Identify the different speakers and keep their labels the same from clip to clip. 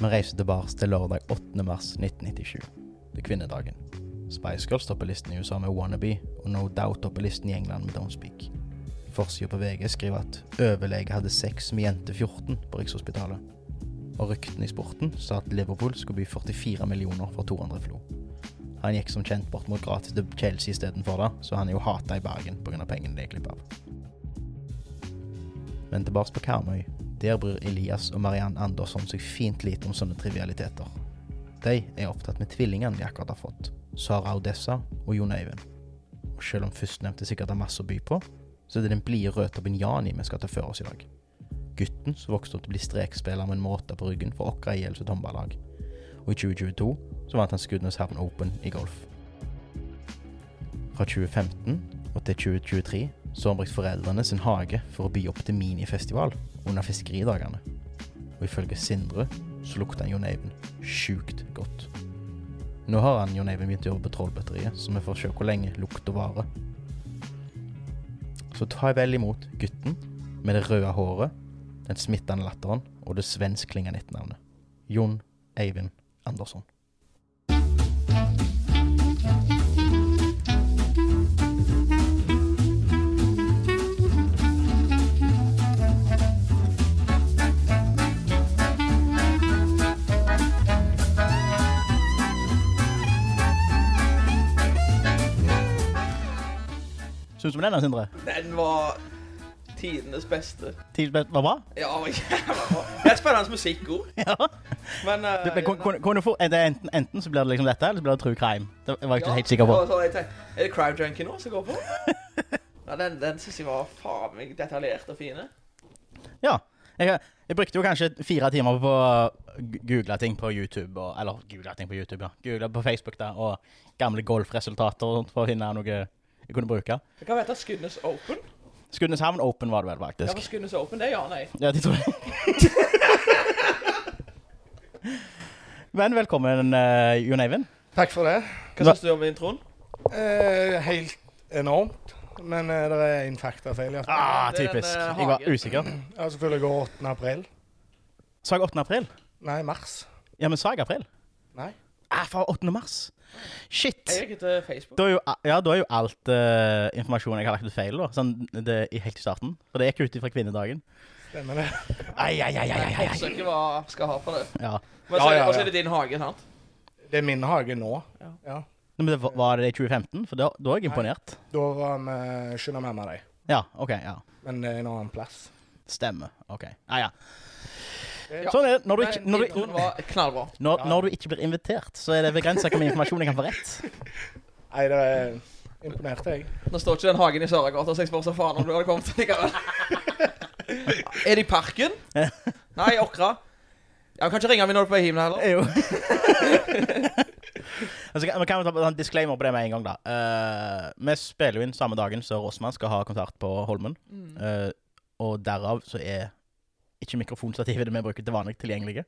Speaker 1: Vi reiser tilbake til lørdag 8. mars 1997. Det er kvinnedagen. Spice Girls topper listen i USA med Wannabe, og No Doubt topper listen i England med Don't Speak. Forsida på VG skriver at overlege hadde sex med jente 14 på Rikshospitalet. Og ryktene i sporten sa at Liverpool skulle by 44 millioner for 200 Flo. Han gikk som kjent bort mot gratis til Chelsea istedenfor, da, så han er jo hata i Bergen pga. pengene de er klippet av. Men tilbake på Karmøy. Der bryr Elias og Mariann Andersson seg fint lite om sånne trivialiteter. De er opptatt med tvillingene de akkurat har fått, Sara Odessa og Jon Øyvind. Og selv om førstnevnte sikkert har masse å by på, så er det den blide rødtoppen Jani vi skal ta for oss i dag. Gutten som vokste opp til å bli strekspiller med en måte på ryggen for Åkra IL sitt håndballag. Og i 2022 så vant han Skudeneshavn Open i golf. Fra 2015 og til 2023 så har han brukt foreldrene sin hage for å by opp til minifestival under fiskeridagene. Og ifølge Sindre så lukter han Jon Eivind sjukt godt. Nå har han Jon Eivind begynt å jobbe på Trollbatteriet, så vi får se hvor lenge lukta varer. Så ta vel imot gutten med det røde håret, den smittende latteren og det svenskklingende etternavnet. Jon Eivind Andersson. Syns du om den, Sindre?
Speaker 2: Den var tidenes beste.
Speaker 1: Tidspunkt var bra?
Speaker 2: Ja, den var jævla bra. Det er spennende musikkord,
Speaker 1: Ja.
Speaker 2: men eh,
Speaker 1: Du, men, kunne- kunne- kunne du få, er det enten, enten så blir det liksom dette, eller så blir det true crime. Det var jeg ikke
Speaker 2: ja,
Speaker 1: helt sikker på.
Speaker 2: og så jeg tenker, Er det Crime Junkie nå som går på? Ja, den den syns jeg var faen meg detaljert og fine.
Speaker 1: Ja. Jeg, jeg brukte jo kanskje fire timer på å gu- google ting på YouTube, og, eller google ting på YouTube, ja. Google på Facebook da, og gamle golfresultater og sånt for å finne noe jeg kunne bruke.
Speaker 2: Hva heter Skudenes Open?
Speaker 1: Skudeneshavn Open var det vel,
Speaker 2: Ja, for
Speaker 1: faktisk.
Speaker 2: Skudenes Open, det er ja nei.
Speaker 1: Ja, det tror jeg. Men velkommen, eh, Jon Eivind.
Speaker 3: Takk for det.
Speaker 2: Hva syns du om introen?
Speaker 3: Eh, helt enormt. Men eh, det er en faktafeil. Ja.
Speaker 1: Ah,
Speaker 2: Det er den,
Speaker 1: typisk.
Speaker 2: eh,
Speaker 1: Jeg var
Speaker 2: hagen.
Speaker 1: usikker.
Speaker 3: Ja, selvfølgelig går 8. april.
Speaker 1: Sag 8. april?
Speaker 3: Nei, mars.
Speaker 1: Ja, men sag april?
Speaker 3: Nei.
Speaker 1: Ah, fra 8. mars. Shit.
Speaker 2: Jeg gikk til Facebook.
Speaker 1: Da er jo, ja, da er jo alt eh, informasjonen jeg har lagt ut feil, da. Sånn det, i helt i starten. For det gikk jo ut ifra kvinnedagen.
Speaker 3: Stemmer det.
Speaker 1: Ai, ai, ai, ai, ai, ai, ai.
Speaker 2: Forsøker hva jeg skal ha for det.
Speaker 1: Ja.
Speaker 2: Men så er det,
Speaker 3: Ja, ja, ja.
Speaker 2: og så er det din hage, sant?
Speaker 3: Det er min hage nå.
Speaker 2: Ja.
Speaker 3: Ja.
Speaker 1: Men det, var- var det i 2015? For da, da er jeg imponert.
Speaker 3: Da var vi skynda meg med deg.
Speaker 1: Ja, OK. ja.
Speaker 3: Men det er en annen plass.
Speaker 1: Stemmer. OK. Ja, ja.
Speaker 3: Ja.
Speaker 1: Sånn er det. Når du ikke,
Speaker 2: Men
Speaker 1: når
Speaker 2: introen
Speaker 1: du,
Speaker 2: var knallbra.
Speaker 1: når, når du ikke blir invitert, så er det begrensa hvor mye informasjon jeg kan få rett.
Speaker 3: Nei, det er imponerte jeg.
Speaker 2: Nå står ikke den hagen i Søragata, så jeg spør så faen om du hadde kommet likevel. er det i parken? Nei, i Åkra. Ja, vi kan ikke ringe meg når du er på vei hjem heller.
Speaker 1: Det er jo altså, kan, kan vi ta en disclaimer på det med en gang, da? Eh, vi spiller jo inn samme dagen som Rossmann skal ha konsert på Holmen.
Speaker 2: Mm.
Speaker 1: Eh, og derav så er ikke mikrofonstativet det vi bruker til vanlig, tilgjengelige.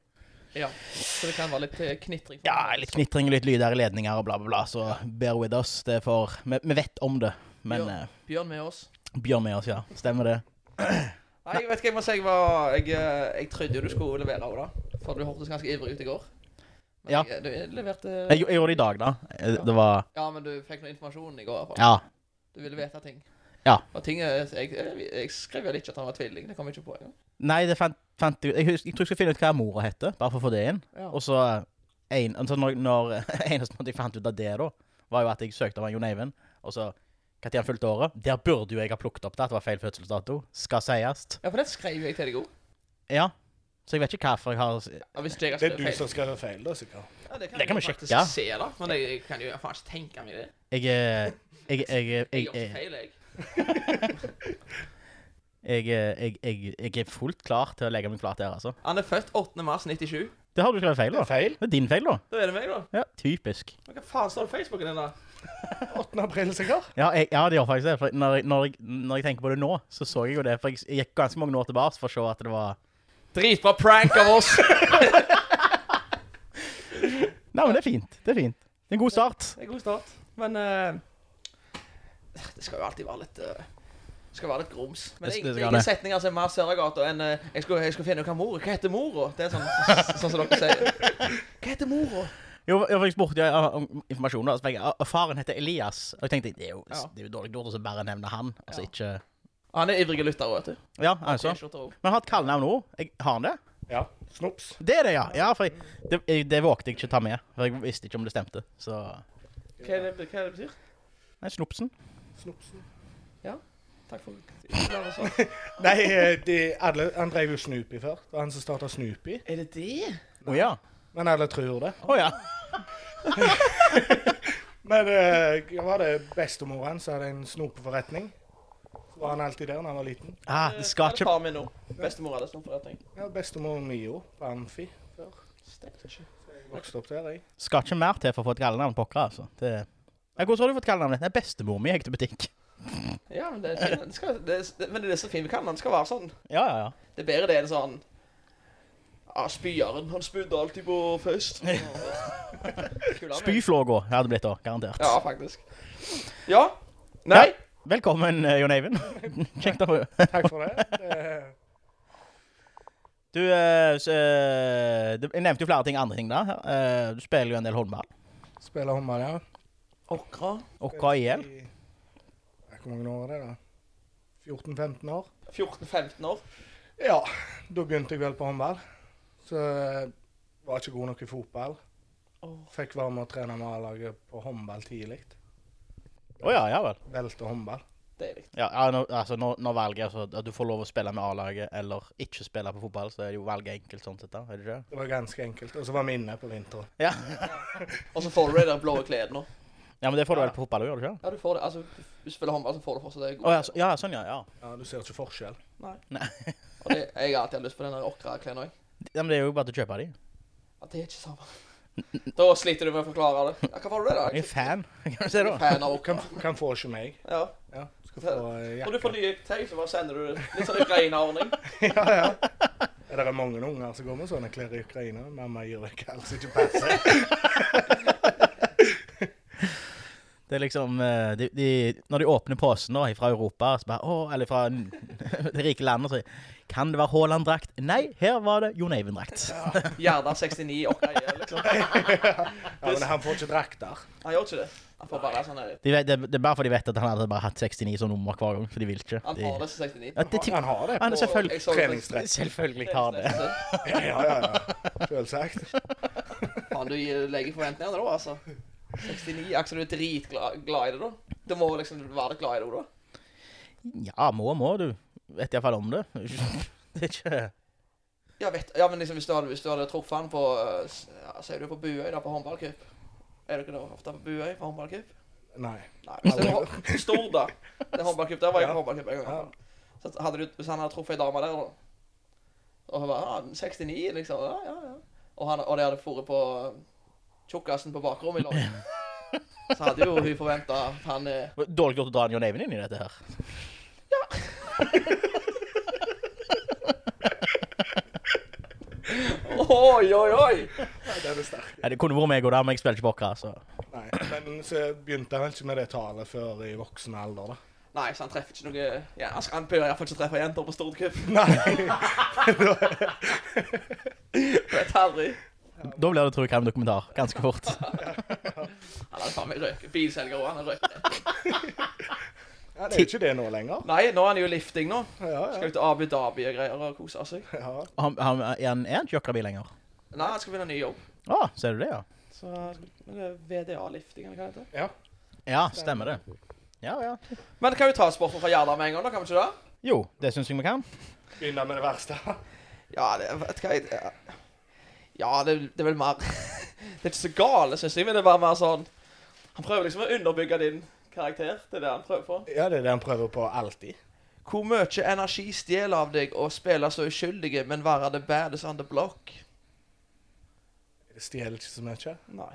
Speaker 2: Ja, så det kan være litt eh, knitring. for
Speaker 1: Ja,
Speaker 2: meg.
Speaker 1: litt knitring og litt lyd der i ledninger og bla, bla, bla, så bear with us. Det er for Vi, vi vet om det, men
Speaker 2: Ja.
Speaker 1: eh,
Speaker 2: Bjørn med oss.
Speaker 1: Bjørn med oss, ja. Stemmer det.
Speaker 2: Nei, jeg vet ikke, jeg må si jeg var Jeg, eh, jeg trodde jo du skulle levere òg, da. For du hørtes ganske ivrig ut i går. Men
Speaker 1: Ja.
Speaker 2: jeg, eh, du leverte
Speaker 1: Jeg, jeg gjorde det i dag, da. Eh, Det var
Speaker 2: Ja, men du fikk noe informasjon i går, i hvert fall.
Speaker 1: Ja.
Speaker 2: Du ville vite ting.
Speaker 1: Ja.
Speaker 2: Og ting er Jeg, jeg, jeg skrev vel ikke at han var tvilling. Det kom jeg ikke på engang.
Speaker 1: Nei, det fant, fant jeg, jeg, hus- jeg tror jeg skal finne ut hva mora heter, bare for å få det inn.
Speaker 2: Ja.
Speaker 1: Og så en, altså når, når Eneste måte jeg fant ut av det, da, var jo at jeg søkte om Jon Eivind. Og så Når han fulgte året? Der burde jo jeg ha plukket opp det, at det var feil fødselsdato. Skal sies.
Speaker 2: Ja, for det skrev jeg til deg òg.
Speaker 1: Ja. Så jeg vet ikke hvorfor jeg har
Speaker 2: Ja, hvis ikke jeg har skrevet
Speaker 3: Det er du
Speaker 2: feil.
Speaker 3: som skrev feil, da, sikkert.
Speaker 2: Ja,
Speaker 1: Det kan
Speaker 2: jeg
Speaker 1: vi sjekke.
Speaker 2: faktisk Se, da. Men jeg, jeg kan jo faen ikke tenke meg det.
Speaker 1: Jeg er jeg, jeg, jeg, jeg,
Speaker 2: Jeg gjør ikke
Speaker 1: jeg,
Speaker 2: feil, jeg.
Speaker 1: jeg, eh, jeg, jeg, jeg er fullt klar til å legge meg flat der, altså.
Speaker 2: Han er født 8. mars 97.
Speaker 1: Det har du skrevet feil,
Speaker 3: Det er
Speaker 1: da.
Speaker 3: feil.
Speaker 1: Det er din feil, da.
Speaker 2: Da er det meg, da.
Speaker 1: Ja, Typisk.
Speaker 2: Men Hva faen står det på Facebooken din, da?
Speaker 3: 8. april, sikkert.
Speaker 1: Ja, jeg, ja, det gjør faktisk det. For når, jeg- når, jeg, når jeg tenker på det nå, så så jeg jo det. For jeg, jeg gikk ganske mange år tilbake for å se at det var
Speaker 2: Dritbra prank av oss! Det
Speaker 1: Nei, men det er fint. Det er fint. Det er en god start.
Speaker 2: er god start. Men eh, Det skal jo alltid være litt eh, skal være litt grums. Men
Speaker 1: Det- det
Speaker 2: egentlig
Speaker 1: skal
Speaker 2: ingen
Speaker 1: det.
Speaker 2: setninger som er mer Søragata enn eh, jeg skulle, jeg skulle finne ut hva mora Hva heter mora? Det er sånn, sånn som dere sier. Hva heter mora?
Speaker 1: Jo, jeg fikk spurt ja, om informasjon, da. Så fikk jeg, «Ah, faren heter Elias. Og jeg tenkte det er jo,
Speaker 2: Ja.
Speaker 1: det er jo dårlig gjort å så bare nevne han. Altså
Speaker 2: Ja.
Speaker 1: ikke
Speaker 2: Han er ivrige lyttere, vet du.
Speaker 1: Ja, altså.
Speaker 2: T-skjorter også.
Speaker 1: Men har et kallenavn òg. Har han det?
Speaker 3: Ja. Snops.
Speaker 1: Det er det, ja. ja for jeg, det, jeg- det vågte jeg ikke ta med. For jeg visste ikke om det stemte. Så
Speaker 2: Hva er det, hva er det betyr?
Speaker 1: Nei, Snopsen.
Speaker 3: Snopsen.
Speaker 2: Takk for klare svar.
Speaker 3: Nei, eh, de, alle, han drev jo Snoopy før. Det var han som starta Snoopy.
Speaker 2: Er det det?
Speaker 1: Å ja.
Speaker 3: Men alle tror det.
Speaker 1: Å ja.
Speaker 3: Men eh, hva var det bestemor hans hadde en snopeforretning? Så var han alltid der da han var liten.
Speaker 1: Ah, det skal
Speaker 2: Det er
Speaker 1: ikke
Speaker 2: far min nå. Bestemor eller sånn for det, tenk.
Speaker 3: Ja, bestemor Mio på Amfi.
Speaker 2: Steik ikke.
Speaker 3: Vokste opp der, jeg.
Speaker 1: skal ikke mer til for å få et kallenavn på oss, altså. Det... Ja, hvordan har du fått kallenavnet? Det er bestemor mi jeg gikk til butikk.
Speaker 2: Ja, men det er fint. Det skal, det, er- det, men det er så fint vi kan. Han skal være sånn.
Speaker 1: Ja, ja, ja.
Speaker 2: Det er bedre det enn sånn Ja, spyeren. Han spydde alltid på fest. Kul han, jeg.
Speaker 1: Spyflågå hadde blitt da, garantert.
Speaker 2: Ja, faktisk. Ja. Nei.
Speaker 1: Velkommen, eh, Jon Eivind. Kjekt å høre.
Speaker 3: Takk for det. det
Speaker 1: Du, eh, s- eh, du jeg nevnte jo flere ting, andre ting da. Eh, du spiller jo en del håndball.
Speaker 3: Spiller håndball, ja.
Speaker 2: Åkra.
Speaker 1: Og KIL.
Speaker 3: I- Ja, Hvor mange år er det, da? 14-15 år?
Speaker 2: 14-15 år.
Speaker 3: Ja, da begynte jeg vel på håndball. Så eh, var ikke god nok i fotball.
Speaker 2: Åh.
Speaker 3: Fikk være med å trene med A-laget på håndball tidlig.
Speaker 1: Å ja, ja vel.
Speaker 3: Velte håndball.
Speaker 2: Deilig.
Speaker 1: Ja, ja, nå, altså, nå, nå valget altså, at du får lov å spille med A-laget eller ikke spille på fotball, så er det jo valget enkelt sånn sett, da. Er det ikke?
Speaker 3: Det var ganske enkelt. Og så var vi inne på vinteren.
Speaker 1: Ja,
Speaker 2: Og så får du de der blå klærne.
Speaker 1: ja men det får du vel på fotball òg, gjør du ikke?
Speaker 2: Ja, du får det. Altså, du spiller håndball, så får du fortsatt det.
Speaker 1: Å ja, så, ja, sånn ja. ja.
Speaker 3: Ja, Du ser ikke forskjell.
Speaker 2: Og det, jeg har alltid hatt lyst på den der åkra-klærne òg.
Speaker 1: ja. Men det er jo bare til å kjøpe de.
Speaker 2: Ja, det er ikke samme. Da sliter du med å forklare det. Ja, hva var det
Speaker 1: Jeg er
Speaker 2: der?
Speaker 1: fan, kan du se
Speaker 2: Jeg er
Speaker 1: da.
Speaker 2: fan av
Speaker 3: Du
Speaker 2: åkra.
Speaker 3: kan, kan få ikke meg.
Speaker 2: Ja.
Speaker 3: Ja, du skal få eh,
Speaker 2: Når du får
Speaker 3: jakke.
Speaker 2: nye tau, så bare sender du det. Litt sånn Ukraina-ordning.
Speaker 3: Ja, ja. Er det mange unger som går med sånne klær i Ukraina? Mamma gir deg alt som ikke passer.
Speaker 1: Det er liksom eh, de, de, Når de åpner posen nå fra Europa, så bare, å, eller fra n- det rike landet, så Kan det være Haaland-drakt? Nei, her var det Jon Eivind-drakt.
Speaker 2: Gjerda 69 åkra i, liksom.
Speaker 3: Ja, men han får ikke drakter.
Speaker 2: Han gjør ikke det. Han får bare sånn her.
Speaker 1: De vet, det, det er bare fordi de vet at han hadde bare hatt 69 som nummer hver gang, så de vil ikke.
Speaker 2: Han
Speaker 1: De,
Speaker 2: har det som 69.
Speaker 1: ja, det,
Speaker 3: Han har det.
Speaker 1: han,
Speaker 2: Og
Speaker 1: selvfølgelig,
Speaker 2: jeg så det-
Speaker 3: Treningsdress.
Speaker 1: selvfølgelig har det.
Speaker 3: Ja, ja, ja. Selvsagt.
Speaker 2: Faen, du gir- legger forventningene da, altså. 69, Aksel, du er dritglad glad i det, da. Du må liksom være litt glad i det, da.
Speaker 1: Ja, må, må, du. Vet iallfall om det. Det er ikke
Speaker 2: Ja, vet, ja men liksom, hvis, du hadde, hvis du hadde truffet han på eh, s- ja, Sier du på Buøy, da, på håndballcup? Er dere da ofte på Buøy på håndballcup?
Speaker 3: Nei.
Speaker 2: Nei. Hvis det var stor, da. Det er håndballcup. Der var jeg på
Speaker 3: Ja.
Speaker 2: håndballcup en gang. i hvert fall. Så hadde du, hvis han hadde truffet ei dame der, da Og hun bare ja, 69, liksom. Ja, ja, ja. Og, han, og de hadde dratt på eh, tjukkasen på bakrommet i lag. Så hadde jo hun forventa at han eh,
Speaker 1: Dårlig gjort å dra en John Even inn i dette her.
Speaker 2: Oi, oi, oi!
Speaker 3: Nei, den er sterk.
Speaker 1: Ja, det kunne vært meg òg, men jeg spiller ikke pokker. Så.
Speaker 3: Nei. Men så begynte han vel ikke med det talet før i voksen alder, da.
Speaker 2: Nei, så han treffer ikke noe ja, han, skal, han bør iallfall ikke treffe jenter på Stordcup.
Speaker 3: Nei.
Speaker 2: Det er tarry.
Speaker 1: Da blir det True Crime-dokumentar ganske fort.
Speaker 2: Han hadde faen meg røyk. Bilselger òg, han har røykt.
Speaker 3: Ja, det er jo ikke det nå lenger.
Speaker 2: Nei, nå er han jo lifting, nå.
Speaker 3: Ja, ja.
Speaker 2: Skal ut til Abu Dhabi og greier og kose seg.
Speaker 3: ja.
Speaker 1: Han, han, er han er han ikke jokkerbil lenger?
Speaker 2: Nei, han skal finne en ny jobb.
Speaker 1: Å, ser du det, ja?
Speaker 2: Så men det er VDA-lifting, eller hva det heter.
Speaker 3: ja.
Speaker 1: Ja, stemmer det. Ja, ja.
Speaker 2: Men kan vi ta sporten fra Gjerda med en gang, da? Kan vi ikke det?
Speaker 1: Jo, det syns jeg vi kan.
Speaker 3: Begynne med det verste.
Speaker 2: Ja, det vet hva jeg Ja, ja det, det er vel mer Det er ikke så gale, syns jeg, men det er bare mer sånn Han prøver liksom å underbygge din karakter. Det er det han prøver på.
Speaker 3: Ja, det er det han prøver på alltid.
Speaker 2: Hvor mye energi stjeler av deg å spille så uskyldige, men være the baddest on the block?
Speaker 3: Det stjeler ikke så mye.
Speaker 2: Nei.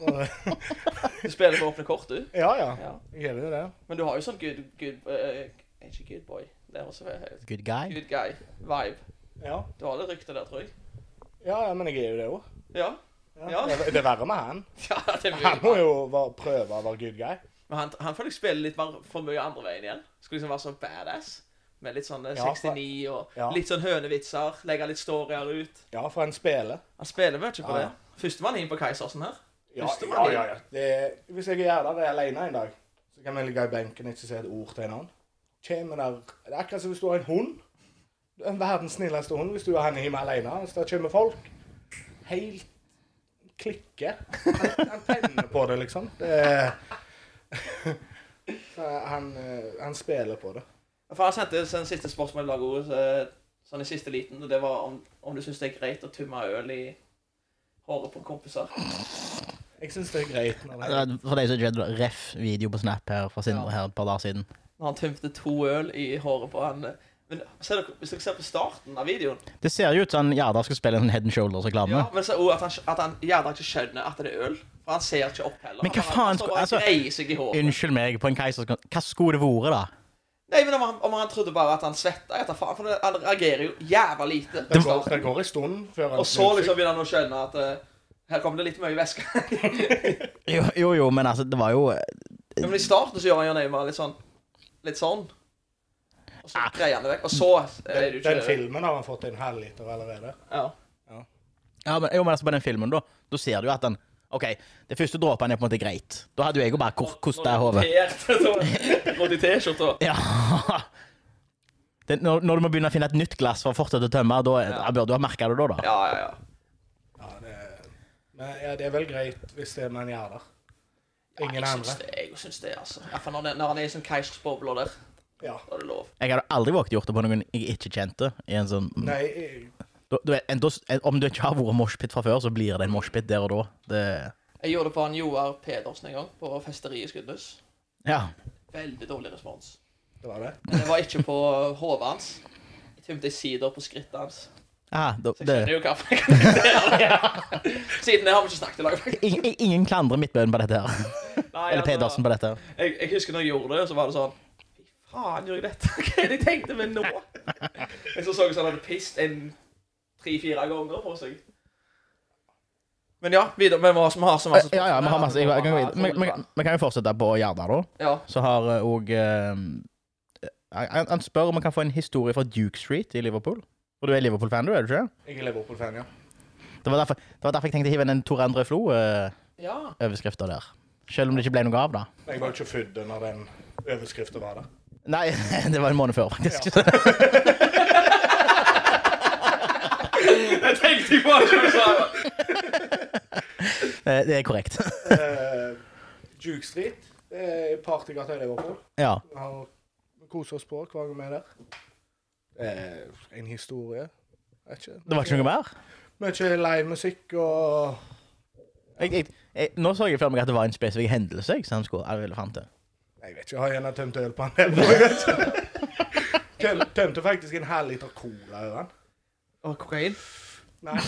Speaker 3: Bare-
Speaker 2: Du spiller for åpne kort, du.
Speaker 3: Ja, ja.
Speaker 2: Ja.
Speaker 3: Jeg gjør jo det.
Speaker 2: Men du har jo sånn good, good eh, eh, Ikke good boy. Det er også feil.
Speaker 1: Good guy.
Speaker 2: Good guy-vibe.
Speaker 3: Ja.
Speaker 2: Du har det ryktet der, tror jeg.
Speaker 3: ja, ja, men jeg er jo det òg.
Speaker 2: Ja. Ja.
Speaker 3: Det er verre med han.
Speaker 2: ja det er
Speaker 3: Han må
Speaker 2: mye.
Speaker 3: jo være- prøve å være good guy.
Speaker 2: Men han, han føler jeg spiller litt mer for mye andre veien igjen. Skulle liksom være sånn badass. Med litt sånn eh,
Speaker 3: Ja, for-
Speaker 2: 69 og
Speaker 3: Ja.
Speaker 2: litt sånn hønevitser. Legge litt storyer ut.
Speaker 3: Ja, for en spiller.
Speaker 2: Han spiller mye på
Speaker 3: Ja, ja.
Speaker 2: det. Førstemann inn på Keisersen her.
Speaker 3: Ja,
Speaker 2: Første
Speaker 3: ja,
Speaker 2: mann
Speaker 3: ja, ja. Det er, hvis jeg er jævla er alene en dag, så kan vi ligge i benken og ikke si et ord til en annen. Kjem der, det er akkurat som hvis du har en hund. Du er verdens snilleste hund hvis du er henne hjemme alene. Hvis det kommer folk, helt klikke. Han, han tenner på det, liksom. Det er, Så han, eh, han spiller på det.
Speaker 2: For han sendte sånn siste spørsmål i lagordet så- sånn i siste liten, og det var om, om du syns det er greit å tømme øl i håret på kompiser.
Speaker 3: Jeg syns det er greit. Når det er.
Speaker 1: For de som ikke vet, ref video på Snap her fra Sindre her et par dager siden.
Speaker 2: Når han tømte to øl i håret på han eh. Men ser dere, Hvis dere ser på starten av videoen
Speaker 1: Det ser jo ut som Gjerda skal spille en sånn Head and Shoulders-reklame.
Speaker 2: ja, men så også at han, at han gjerne ikke skjønner at det er øl. For han ser ikke opp heller.
Speaker 1: Men hva
Speaker 2: Han-
Speaker 1: faen
Speaker 2: Han står
Speaker 1: skulle-
Speaker 2: bare
Speaker 1: altså,
Speaker 2: og greier seg i håret.
Speaker 1: Unnskyld meg, på en keiser Hva skulle det vært, da?
Speaker 2: Nei, men om han, om han trodde bare at han svetta etter faen, for det- han reagerer jo jævla lite.
Speaker 3: Det går, det går en stund før han
Speaker 2: Og så liksom begynner han å skjønne at eh, her kommer det litt mye væske.
Speaker 1: Jo, jo, jo, men altså, det var jo
Speaker 2: Ja, men i starten så gjør han jo Neymar litt sånn Litt sånn. Og så greier han det vekk. Og så eh, er det
Speaker 3: Den,
Speaker 2: jo
Speaker 3: den
Speaker 2: ikke
Speaker 3: filmen har han fått en halvliter allerede.
Speaker 2: ja.
Speaker 1: Ja, men, jo, men altså på den filmen, da. Da ser du jo at den OK, det første dråpen er på en måte greit. Da hadde jo jeg jo bare kor- kosta i hodet.
Speaker 2: Gått i T-skjorta.
Speaker 1: Ja. Det, når, når du må begynne å finne et nytt glass for å fortsette å tømme, da er- da bør du ha merka det da, da.
Speaker 2: Ja, ja, ja.
Speaker 3: Ja, det, men, ja, det er vel greit hvis det er man gjør der. Ingen
Speaker 2: jeg
Speaker 3: andre.
Speaker 2: syns det, jeg syns det, altså. I hvert fall når, det- når han er i sånn keisersbobler der,
Speaker 3: Ja.
Speaker 2: da er det lov.
Speaker 1: Jeg hadde aldri våget gjort det på noen jeg ikke kjente. I en sånn,
Speaker 3: Nei, jeg-
Speaker 1: da, du vet, en, da, en, om du ikke har vært moshpit fra før, så blir det en moshpit der og da. Det,
Speaker 2: Jeg gjorde det på han Joar Pedersen en gang, på festeriet i Skudenes.
Speaker 1: ja.
Speaker 2: Veldig dårlig respons.
Speaker 3: det var det.
Speaker 2: Men det var ikke på hodet hans. Jeg tømte sider på skrittet hans.
Speaker 1: Ah, da,
Speaker 2: Så jeg
Speaker 1: det.
Speaker 2: skjønner jo hva for en karakter han er. Siden det har vi ikke snakket i lag. faktisk.
Speaker 1: Ingen, ingen klandrer Midtbøen på dette her.
Speaker 2: Nei,
Speaker 1: Eller
Speaker 2: altså-
Speaker 1: Pedersen på dette. her.
Speaker 2: Jeg, jeg husker når jeg gjorde det, så var det sånn Fy faen, gjør jeg dette? Hva er det jeg tenkte meg nå? Men så så jeg sånn at han hadde pist en tre-fire ganger på seg. Men ja, videre. Men vi har, vi har så masse
Speaker 1: Eh, Ja, ja, vi har masse. jeg- jeg kan gå videre. Vi- Vi vi kan jo fortsette på Gjerda, da.
Speaker 2: Ja.
Speaker 1: Så har eh, òg eh, han, han spør om han kan få en historie fra Duke Street i Liverpool. Og du er Liverpool-fan, du, er du ikke? det?
Speaker 3: Jeg er Liverpool-fan, ja.
Speaker 1: Det var derfor, det var derfor jeg tenkte å hive inn en Tor André Flo-overskrifta
Speaker 2: ja.
Speaker 1: der. Selv om det ikke ble noe av, da.
Speaker 3: Jeg var jo ikke født når den overskriften var der.
Speaker 1: Nei, det var en måned før, faktisk.
Speaker 2: Jeg tenkte på det du sa.
Speaker 1: Eh, det er korrekt.
Speaker 3: Eh, Duke Street det er partygata i Liverpool.
Speaker 1: ja.
Speaker 3: Vi har vi koser oss på hver gang vi er der. Eh, en historie. Vet ikke.
Speaker 1: Det var ikke noe mer?
Speaker 3: Mye livemusikk og
Speaker 1: Jeg, jeg, jeg, nå så jeg for meg at det var en spesifikk hendelse jeg, som han skulle, jeg ville fram til.
Speaker 3: Jeg vet ikke, jeg har gjerne tømt øl på han. Jeg vet ikke. Tøm, tømte faktisk en halv liter cola over han.
Speaker 2: Å, kokain.
Speaker 3: Nei.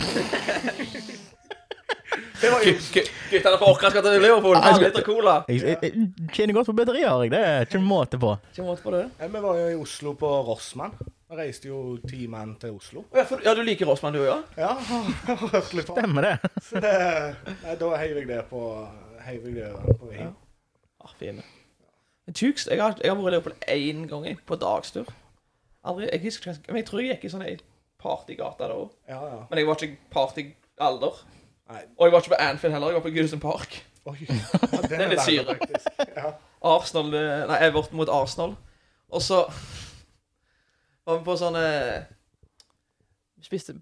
Speaker 3: Det var jo
Speaker 2: Gu- gu- Guttene på Åkra skal til Liverpool.
Speaker 1: Ah, jeg
Speaker 2: Halv
Speaker 1: skal-
Speaker 2: liter cola.
Speaker 1: Jeg, jeg, jeg tjener godt på bederi, har jeg. Det er ikke måte på.
Speaker 2: Ikke måte på det.
Speaker 3: Nei, Vi var jo i Oslo på Rossmann. Vi reiste jo ti mann til Oslo.
Speaker 2: Å, Ja, for, ja, du liker Rossmann, du òg? Ja?
Speaker 3: Ja, har hørt litt på.
Speaker 1: Stemmer det.
Speaker 3: Så det, nei, da heiv jeg det på heiv jeg det over på vin.
Speaker 2: Ah, fine. Men Tukes, jeg har, jeg har vært i Leopold én gang jeg, på dagstur. Aldri, jeg husker ikke, men jeg tror jeg gikk i sånn ei partygata da òg.
Speaker 3: Ja, ja.
Speaker 2: Men jeg var ikke partyalder.
Speaker 3: Nei,
Speaker 2: Og jeg var ikke på Anfield heller, jeg var på Goodison Park.
Speaker 3: oi. Ja,
Speaker 2: Den er litt syre.
Speaker 3: lang, faktisk. Ja.
Speaker 2: Arsenal, eh, nei, Everton mot Arsenal. Og så var vi på sånn eh, Vi spiste,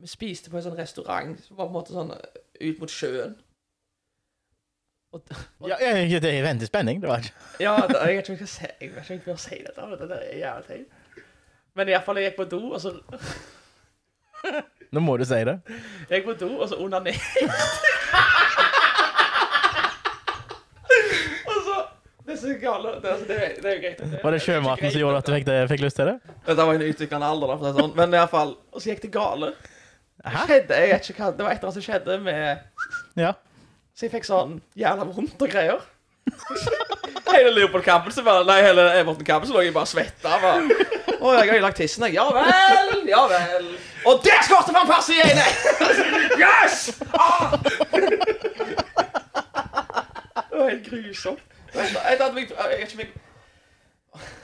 Speaker 2: vi spiste på en sånn restaurant som var på en måte sånn eh, ut mot sjøen. Og,
Speaker 1: Ja, jeg, det er venter spenning. Det var ikke
Speaker 2: Ja, da, jeg vet ikke om jeg skal si, jeg vet ikke om jeg bør si dette, men det er jævlig teit. Men i hvert fall, jeg gikk på do, og så
Speaker 1: Nå må du si det.
Speaker 2: jeg gikk på do, og så onanerte jeg. Og så Det er så gale. Det, altså, det, er- det er jo greit.
Speaker 1: Var det sjømaten som gjorde at du fikk, det, fikk lyst til det?
Speaker 2: Dette var en utviklende alder, da, for å si det sånn. Men i hvert fall, og så gikk det gale. Det
Speaker 1: Hæ?
Speaker 2: skjedde, jeg vet ikke hva, det var et eller annet som skjedde med
Speaker 1: Ja.
Speaker 2: Så jeg fikk sånn jævla vondt og greier. hele Leopold-kampen så bare, nei, hele Everton-kampen så lå jeg bare og svetta. bare. Å, jeg har ødelagt tissen, jeg. Ja vel, ja vel. Og der skåret man passet i ene! yes! Ah! Det var helt grusomt. Jeg tatt meg Jeg er ikke meg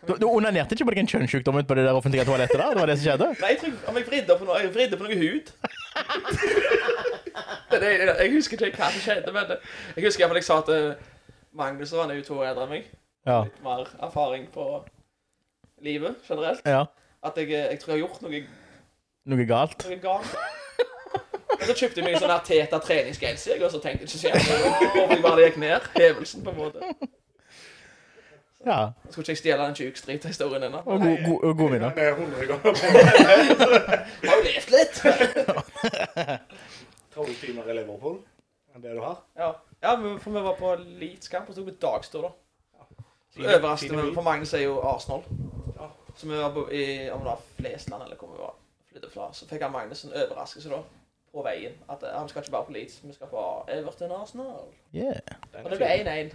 Speaker 1: Du, du onanerte ikke på deg en kjønnssykdom ute på det der offentlige toalettet? da? Det var det som skjedde?
Speaker 2: Nei, jeg tror jeg- om jeg vridde på noe Jeg vridde på noe hud. det, det, det, jeg husker ikke hva som skjedde, men det- jeg husker i hvert fall jeg sa til Magnus, og han er jo to år eldre enn meg,
Speaker 1: Ja.
Speaker 2: litt mer erfaring på livet generelt,
Speaker 1: ja.
Speaker 2: at jeg, eh, jeg tror jeg har gjort noe,
Speaker 1: Noe galt?
Speaker 2: noe galt. Og så kjøpte jeg meg en sånn her Teta treningsgenser, jeg, og så tenkte jeg ikke så jævlig over jeg bare gikk ned. Hevelsen, på en måte.
Speaker 1: Ja.
Speaker 2: Skulle ikke jeg stjele den tjukstrita-historien ennå?
Speaker 1: Og god, god, og god middag.
Speaker 3: Det er 100 ganger.
Speaker 2: Jeg har jo levd litt!
Speaker 3: Tolv timer i Liverpool. Det er det du har.
Speaker 2: Ja, ja men for vi var på eliteskamp, og så tok vi dagstur, da. Så overraskende, men for Magnus er jo Arsenal.
Speaker 3: Ja.
Speaker 2: Så vi var på, i, om det var Flesland eller hvor vi var, flyttet fra, så fikk han Magnus en overraskelse da, på veien. At eh, han skal ikke bare på Leeds, vi skal på Everton Arsenal.
Speaker 1: Yeah.
Speaker 3: Den
Speaker 2: Og
Speaker 3: er
Speaker 2: det ble
Speaker 3: fin.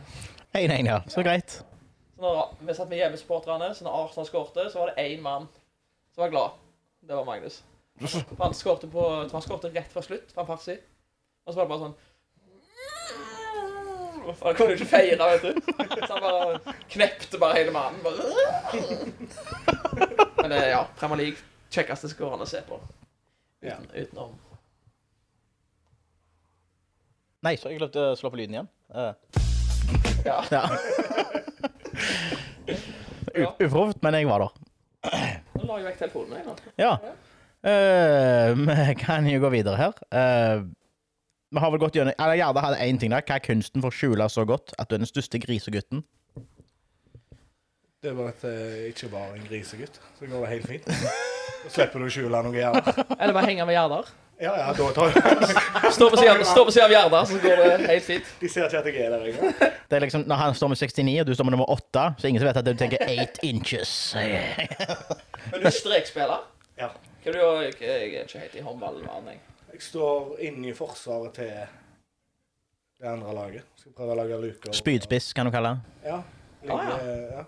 Speaker 2: 1-1.
Speaker 1: 1-1, ja. Så greit.
Speaker 2: Så når vi satt med hjemmesupporterne, så når Arsenal skårte, så var det én mann som var glad. Det var Magnus. For Han skårte på, jeg tror han skårte rett før slutt, fra en farsi. Og så var det bare sånn For Han kunne jo ikke feire, vet du. Så han bare knepte bare hele mannen. Bare. Men det, ja, Premier League kjekkeste skåreren å se på.
Speaker 3: Ja.
Speaker 2: Uten, utenom
Speaker 1: Nei, så jeg glemte å slå på lyden igjen. Eh,
Speaker 2: Ja.
Speaker 1: ja. U- Uproft, men jeg var der.
Speaker 2: Nå la jeg vekk telefonen. Jeg, nå.
Speaker 1: Ja. Eh, Vi kan jo gå videre her. Eh, vi har vel gått gjennom Eller Gjerda hadde én ting der. Hva er kunsten for å skjule så godt at du er den største grisegutten?
Speaker 3: Det var at jeg ikke var en grisegutt. Så går det helt fint. Så slipper du å skjule noe gærent.
Speaker 2: Eller bare henge med Gjerdar.
Speaker 3: Ja, ja, da tar jeg.
Speaker 2: Stå på siden- stå på siden av Gjerdar, så går det helt fint.
Speaker 3: De ser ikke at jeg er der engang.
Speaker 1: Det er liksom, Når han står med 69, og du står med nummer 8, så er det ingen som vet at du tenker 8 inches.
Speaker 2: Men du er strekspiller?
Speaker 3: Ja.
Speaker 2: Hva du gjør? Jeg jeg er ikke helt i håndballbanen, jeg.
Speaker 3: Jeg står inne i forsvaret til det andre laget. Skal prøve å lage luker.
Speaker 1: Spydspiss, kan du kalle det.
Speaker 3: Ja.
Speaker 2: Ah,
Speaker 3: Ligger, ja.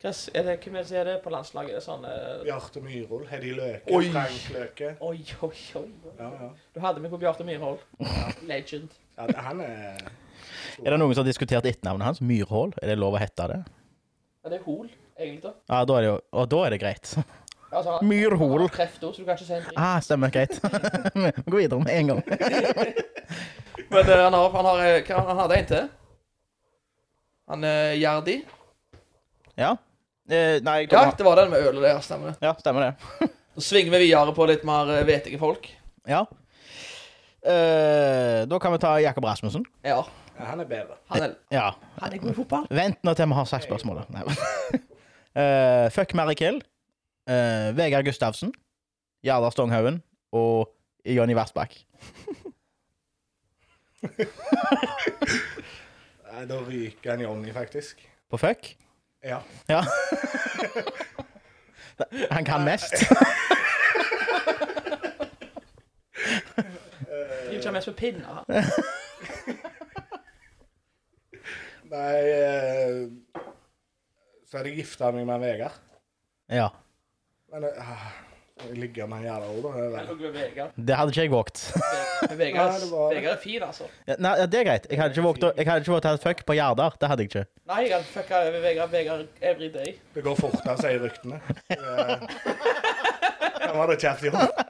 Speaker 2: Chris, er det, hvem er det som er det på landslaget? Er det sånn eh,
Speaker 3: Bjarte Myhrol, Heddy Løke,
Speaker 2: Oi.
Speaker 3: Frank Løke.
Speaker 2: Oi, oi, oi.
Speaker 3: Ja, ja.
Speaker 2: Du hadde meg på Bjarte Myrhold. Legend.
Speaker 3: ja det- han er
Speaker 1: Er det noen som har diskutert etternavnet hans? Myrhål? Er det lov å hete det?
Speaker 2: Ja, det er Hol, egentlig. da.
Speaker 1: Ja, da er det jo Og da er det greit.
Speaker 2: Altså, han- han
Speaker 1: Myrhol.
Speaker 2: har kreft også, så du kan ikke si en dritt.
Speaker 1: Ah, stemmer. Greit. Vi går videre med en gang.
Speaker 2: Men eh, han, har, han, har, eh, hva- han hadde en til. Han uh, Gjerdi.
Speaker 1: Ja. Eh, nei, jeg
Speaker 2: Ja,
Speaker 1: tror
Speaker 2: det var den med ølet der, stemmer det.
Speaker 1: ja, stemmer det.
Speaker 2: Så svinger vi videre på litt mer eh, vetige folk.
Speaker 1: Ja. Eh, da kan vi ta Jakob Rasmussen.
Speaker 2: Ja,
Speaker 3: Ja, han er bedre.
Speaker 2: han er,
Speaker 1: Ja.
Speaker 2: han er god i fotball.
Speaker 1: Vent nå til vi har sagt spørsmålet. Nei. Eh, fuck Mary Kill. eh, Vegard Gustavsen. Gjerdar Stonghaugen. Og Jonny Versbakk.
Speaker 3: Nei, Da ryker han Jonny, faktisk.
Speaker 1: På fuck?
Speaker 3: Ja.
Speaker 1: Ja. Han kan mest.
Speaker 2: Driver ikke han mest med pinner? han?
Speaker 3: Nei eh, Så hadde jeg gifta meg med Vegard.
Speaker 1: Ja.
Speaker 3: Men eh, jeg ligger med en jævla ord, da. Det er
Speaker 2: Jeg
Speaker 3: verre.
Speaker 2: lå med Vegard.
Speaker 1: Det hadde ikke jeg våget.
Speaker 2: Ve- Vegard
Speaker 3: Nei, det var-
Speaker 2: Vegard er fin, altså.
Speaker 1: Ja, Nei, ja, det er greit. Jeg hadde ikke våget å jeg hadde ikke våget å ha et fuck på Gjerdar. Det hadde jeg ikke.
Speaker 2: Nei, jeg hadde fucka over Vegard Vegard every day.
Speaker 3: Det går fortere, sier ryktene. Han var det kjeft i hånd.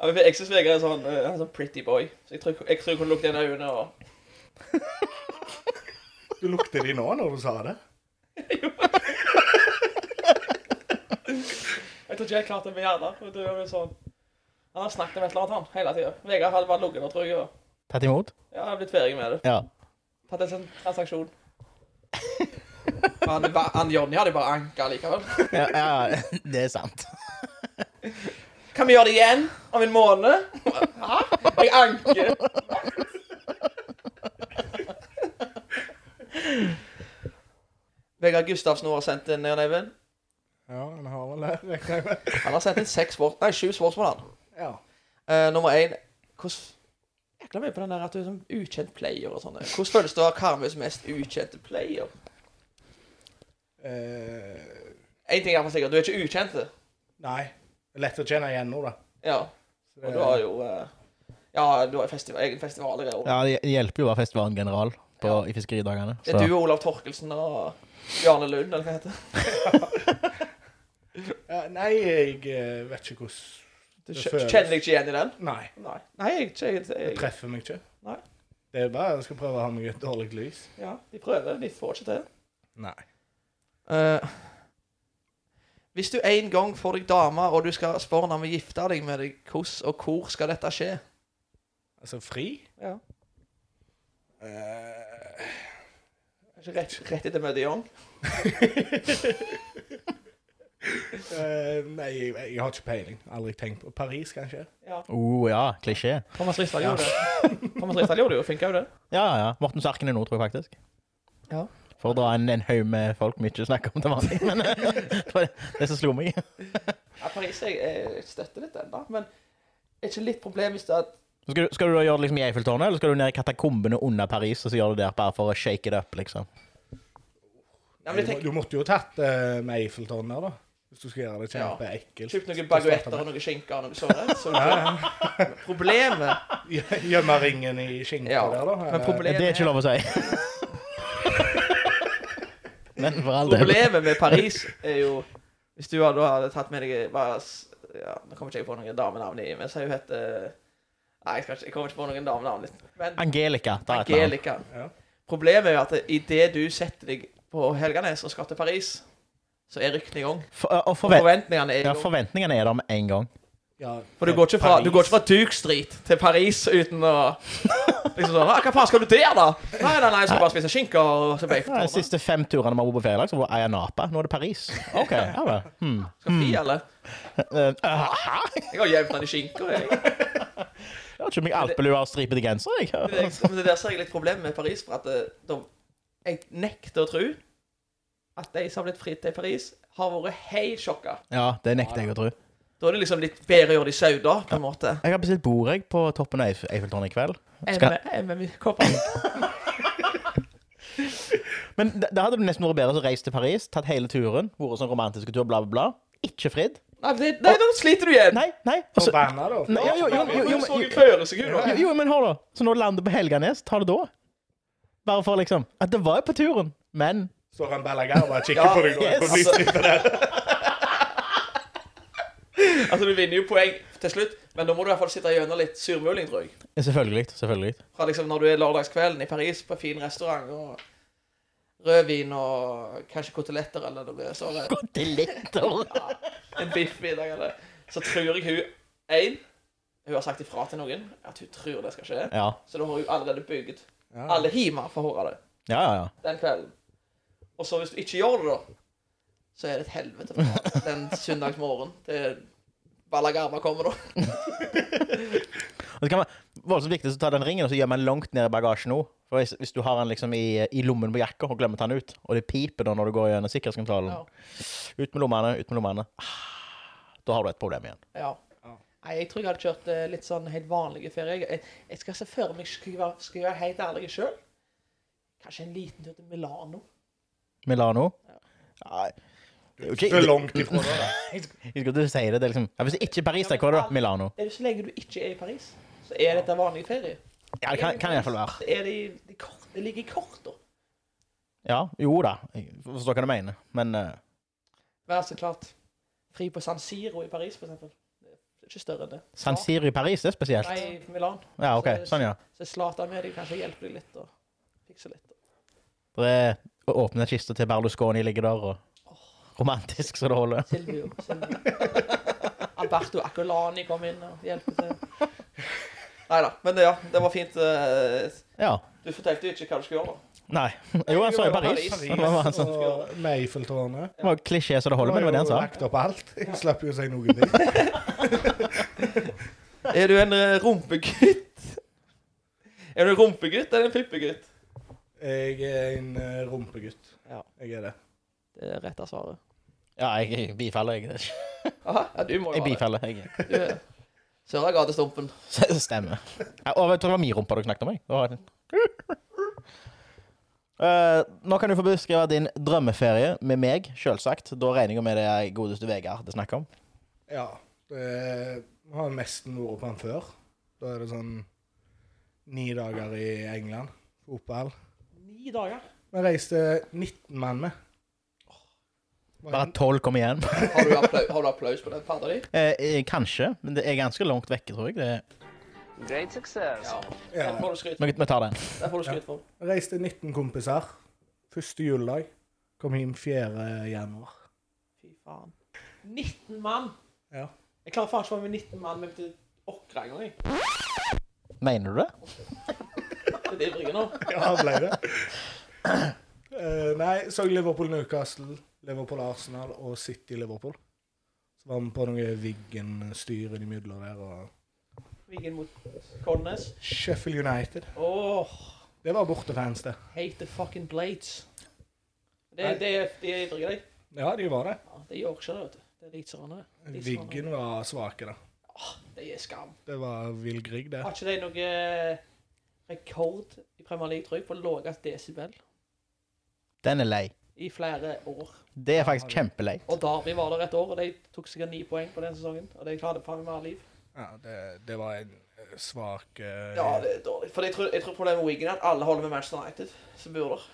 Speaker 2: Ja, men Jeg synes Vegard er sånn, eh, han er sånn pretty boy. Så jeg tror jeg tror jeg kunne lukte henne i øynene og
Speaker 3: Du lukter de nå når du sa det.
Speaker 2: Jeg tror ikke jeg klarte det med hjernen. for det var jo Sånn. Han har snakket om et eller annet, han, hele tida. Vegard hadde bare ligget der, tror jeg. Og
Speaker 1: Tatt imot?
Speaker 2: ja, jeg har blitt ferdig med det.
Speaker 1: Ja.
Speaker 2: Tatt en sånn transaksjon. Men Han, ba- han Jonny hadde jo bare anka likevel.
Speaker 1: Ja, ja, det er sant.
Speaker 2: Kan vi gjøre det igjen om en måned? Hæ? Jeg anker. Vegard Gustavsen har sendt en, Jan Eivind.
Speaker 3: Ja, han har vel det, regner jeg med.
Speaker 2: Han har sendt inn seks sport, nei, sju sportsmål. han.
Speaker 3: Ja.
Speaker 2: Eh, nummer én Hvordan Jækla mye på den der at du er sånn ukjent player og sånn. Hvordan føles det å være Karmøys mest ukjente player?
Speaker 3: Eh,
Speaker 2: Én ting er for sikkert, du er ikke ukjent. det.
Speaker 3: nei. Det er Lett å kjenne igjen nå, da.
Speaker 2: Ja. Og
Speaker 3: Så det-
Speaker 2: du har jo eh, Ja, du har jo festival, egen festival i år.
Speaker 1: Ja, Det hjelper jo å være festivalgeneral. på, i fiskeridagene.
Speaker 2: Det er du og Olav Torkelsen og Bjarne Lund, eller hva heter det?
Speaker 3: Ja, nei, jeg eh, vet ikke hvordan
Speaker 2: Du
Speaker 3: Det
Speaker 2: kj-
Speaker 3: føles.
Speaker 2: kjenner deg ikke igjen i den?
Speaker 3: Nei,
Speaker 2: Nei. Nei, jeg, jeg,
Speaker 3: det
Speaker 2: jeg, jeg
Speaker 3: treffer meg ikke.
Speaker 2: Nei.
Speaker 3: Det er bare jeg skal prøve å ha meg i et dårlig lys.
Speaker 2: Ja, de prøver. De får ikke til.
Speaker 3: Nei.
Speaker 2: Eh, hvis du en gang får deg dame, og du skal spørre om å gifte deg med deg, hvordan og hvor skal dette skje?
Speaker 3: Altså, fri?
Speaker 2: Ja.
Speaker 3: Eh,
Speaker 2: Kanskje rett, rett etter møtet i Young?
Speaker 3: eh, nei, jeg, jeg har ikke peiling. Aldri tenkt på Paris, kanskje.
Speaker 1: Oh ja, klisjé.
Speaker 2: Thomas Ristad gjorde det. Thomas Ristad gjorde det jo, finka jo det.
Speaker 1: Ja, ja. Morten Sarken er nå, tror jeg faktisk.
Speaker 2: Ja.
Speaker 1: For å dra en, en haug med folk vi ikke snakker om til vanlig. Men eh, det var det som slo meg.
Speaker 2: Ja, Paris jeg, jeg støtter litt ennå, men er ikke litt problem hvis det er at
Speaker 1: Så Skal du, skal du da gjøre det liksom i Eiffeltårnet, eller skal du ned i katakombene under Paris og så gjør du det der bare for å shake it up, liksom?
Speaker 2: Nei, men jeg
Speaker 3: du, du måtte jo tatt eh, med Eiffeltårnet, da. Hvis du skal gjøre det
Speaker 2: Ja.
Speaker 3: kjempeekkelt.
Speaker 2: tenker kjøpt noen baguetter og noen skinker og noe sånt. Så problemet
Speaker 3: Gjemme ringen i skinka
Speaker 2: Ja,
Speaker 3: der, da.
Speaker 2: men
Speaker 1: Det
Speaker 2: problemet
Speaker 1: er ikke lov å si. Men for all del.
Speaker 2: Problemet med Paris er jo Hvis du hadde, da hadde tatt med deg bare, s- ja, Nå kommer ikke jeg på noen damenavn i, men si hun heter Nei, jeg, skal ikke, jeg kommer ikke på noen damenavn. litt. Men
Speaker 1: Angelica. Ta et navn.
Speaker 2: Angelica.
Speaker 3: Ja.
Speaker 2: Problemet er jo at idet du setter deg på Helganes og skal til Paris, så er ryktene i gang.
Speaker 1: For, og
Speaker 2: Og
Speaker 1: forvent,
Speaker 2: forventningene er i
Speaker 1: ja,
Speaker 2: gang.
Speaker 1: forventningene er der med en gang.
Speaker 3: Ja,
Speaker 2: For du går, ikke fra, du går ikke fra Duke Street til Paris uten å liksom sånn, «Ah, Hva faen skal du der, da? Nei, nei, nei, jeg skal bare spise skinke og se på
Speaker 1: Ja, de
Speaker 2: Eiffeltårnet.
Speaker 1: siste fem turene vi har vært på ferielag, så var Ayia Napa. Nå er det Paris. OK. Ja vel. Hmm.
Speaker 2: Skal fri, eller?
Speaker 1: Eh, aha.
Speaker 2: Jeg har jevna de skinker, jeg.
Speaker 1: Jeg har ikke meg alpelue og stripete genser,
Speaker 2: Men det,
Speaker 1: jeg.
Speaker 2: men det der ser jeg litt problem med Paris, for at eh, da, jeg nekter å tro at de som har blitt fritt til Paris, har vært helt sjokka.
Speaker 1: Ja, det nekter jeg å tro.
Speaker 2: Da er det liksom litt bedre å gjøre det i Sauda, på en måte.
Speaker 1: Jeg har bestilt bord jeg på toppen av Eif- Eiffeltårnet i kveld. Skal-
Speaker 2: MM-kopper.
Speaker 1: Men da da hadde det nesten vært bedre å reise til Paris, tatt hele turen, vært sånn romantisk tur, bla, bla, bla. Ikke fridd.
Speaker 2: Nei, det, nei, nå sliter du igjen!
Speaker 1: Nei, nei. og så-
Speaker 3: Forbanna, da.
Speaker 1: Nei, jo, jo, jo, jo, jo,
Speaker 2: Du så
Speaker 1: jo,
Speaker 2: en føresekund.
Speaker 1: jo, jo, men hør, da. Så når du lander på Helganes, ta det da. Bare for liksom At det var jo på turen, men
Speaker 3: Står han Balagar og bare kikker
Speaker 2: Ja,
Speaker 3: på deg nå?
Speaker 1: yes.
Speaker 3: på lysstripa der.
Speaker 2: Altså, du vinner jo poeng til slutt, men da må du i hvert fall sitte gjennom litt surmuling, tror jeg.
Speaker 1: Selvfølgelig. Selvfølgelig.
Speaker 2: Fra liksom når du er lørdagskvelden i Paris på en fin restaurant og rødvin og kanskje koteletter eller noe sånt.
Speaker 1: Koteletter.
Speaker 2: en biffmiddag eller Så tror jeg hun En, hun har sagt ifra til noen at hun tror det skal skje.
Speaker 1: Ja.
Speaker 2: Så da har hun allerede bygget
Speaker 3: Ja.
Speaker 2: alle hjemme for å høre det
Speaker 1: Ja, ja, ja.
Speaker 2: den kvelden. Og så hvis du ikke gjør det, da, så er det et helvete for deg den søndagsmorgenen til Balagarma kommer, da.
Speaker 1: Og så kan man, voldsomt viktig å ta den ringen og så gjemmer man langt ned i bagasjen nå. For hvis, hvis du har den liksom i, i lommen på jakka og glemmer å ta den ut, og det piper da når du går gjennom sikkerhetskontrollen
Speaker 2: Ja.
Speaker 1: Ut med lommene, ut med lommene. Ah, Da har du et problem igjen.
Speaker 2: Ja. Nei, jeg tror jeg hadde kjørt eh, litt sånn helt vanlige ferier. Jeg, jeg skal se for meg Skal jeg være- skal jeg være helt ærlig sjøl? Kanskje en liten tur til Milano.
Speaker 1: Milano? Nei. Det er jo
Speaker 3: Du er
Speaker 1: ikke
Speaker 3: langt ifra det. da.
Speaker 1: Jeg skulle ikke si det. det er liksom. ja, hvis det ikke er Paris, da, hva er det? da? Milano.
Speaker 2: Det er jo Så lenge du ikke er i Paris, så er dette vanlig ferie.
Speaker 1: Ja, det kan, kan iallfall være.
Speaker 2: Det, er de, de kort, det ligger i korta.
Speaker 1: Ja, jo da. Jeg forstår hva du mener. Men eh,
Speaker 2: Vær så klart. Fri på San Siro i Paris, for eksempel. Det er ikke større enn det.
Speaker 1: San Siro i Paris, det er spesielt.
Speaker 2: Nei, i Milan.
Speaker 1: Ja, OK. Sånn, ja.
Speaker 2: Så Zlatan med deg kanskje hjelper deg litt og fikser litt.
Speaker 1: Det er å åpne kista til Berlusconi ligger der, og romantisk så det holder.
Speaker 2: Silvio. Silvio. Alberto Accolani kom inn og hjelper til. Nei da. Men det, ja, det var fint. eh,
Speaker 1: Ja.
Speaker 2: Du fortalte jo ikke hva du skulle gjøre, da.
Speaker 1: Nei. Jo, han sa jo
Speaker 2: var
Speaker 1: Paris.
Speaker 2: Paris.
Speaker 1: Det var, han sa.
Speaker 3: Og med Eiffeltårnet.
Speaker 1: Det var klisjé så det holder, men det var det han
Speaker 3: jo
Speaker 1: sa.
Speaker 3: lagt opp alt. Jeg slapp jo å si noen ting.
Speaker 2: Er du en eh, rumpegutt? Er du en rumpegutt eller en pippegutt?
Speaker 3: Jeg er en eh, rumpegutt.
Speaker 2: Ja.
Speaker 3: Jeg er det.
Speaker 2: Det er rette svaret.
Speaker 1: Ja, jeg bifaller, jeg.
Speaker 2: Aha, ja, du må jo
Speaker 1: Jeg
Speaker 2: være det.
Speaker 1: bifaller, jeg.
Speaker 2: Du er Sørregatestumpen.
Speaker 1: Stemmer. Ja, Og vet du, det var min rumpe du snakket om, jeg. Det var- Eh, nå kan du få beskrive din drømmeferie med meg, selvsagt. Da regner jeg med det er godeste Vegard det snakker om.
Speaker 3: Ja. Det har nesten vært på den før. Da er det sånn ni dager i England. Fotball.
Speaker 2: Ni dager?
Speaker 3: Vi reiste 19 mann med.
Speaker 1: Bare tolv kom igjen.
Speaker 2: Har du, applau har du applaus på den farta di?
Speaker 1: Eh, eh, kanskje, men det er ganske langt vekke, tror jeg. Det,
Speaker 4: Great success.
Speaker 2: Ja.
Speaker 3: Ja.
Speaker 2: Den får du skryt for.
Speaker 1: men vi tar den.
Speaker 2: Den får du skryt for.
Speaker 3: Vi reiste 19 kompiser. Første juledag. Kom hjem 4. januar.
Speaker 2: Fy faen. 19 mann!
Speaker 3: Ja.
Speaker 2: Jeg klarer faen ikke å være med 19 mann med til Åkra engang. jeg.
Speaker 1: Mener du det?
Speaker 2: Det er det jeg bringer nå.
Speaker 3: Ja, ble det. Eh, nei, så Liverpool-Newcastle, Liverpool-Arsenal og City-Liverpool. Så var vi på noe Wiggen-styr innimellom der. Og
Speaker 2: Viggen mot Cornes.
Speaker 3: Sheffield United.
Speaker 2: Åh,
Speaker 3: Det var bortefans, det.
Speaker 2: hate the fucking blades.
Speaker 3: Nei.
Speaker 2: Det, det, det er ivrige, de.
Speaker 3: Ja, de var det.
Speaker 2: Ja, det er Yorkshire, vet du. Det er litzerne.
Speaker 3: Wiggen var svake, da.
Speaker 2: Det er skam.
Speaker 3: Det var vill Grieg, det.
Speaker 2: Har ikke de noe eh, rekord i Premier League, tror jeg, på lavest desibel
Speaker 1: Den er lei.
Speaker 2: i flere år?
Speaker 1: Det er faktisk kjempelei.
Speaker 2: Og Derby var der et år, og de tok sikkert ni poeng på den sesongen. Og de klarte faen meg å ha liv.
Speaker 3: Ja, det, det var en eh, svak eh,
Speaker 2: Ja, det er dårlig. For jeg tror, jeg tror problemet med Wigan er at alle holder med Manchester United, som bor der.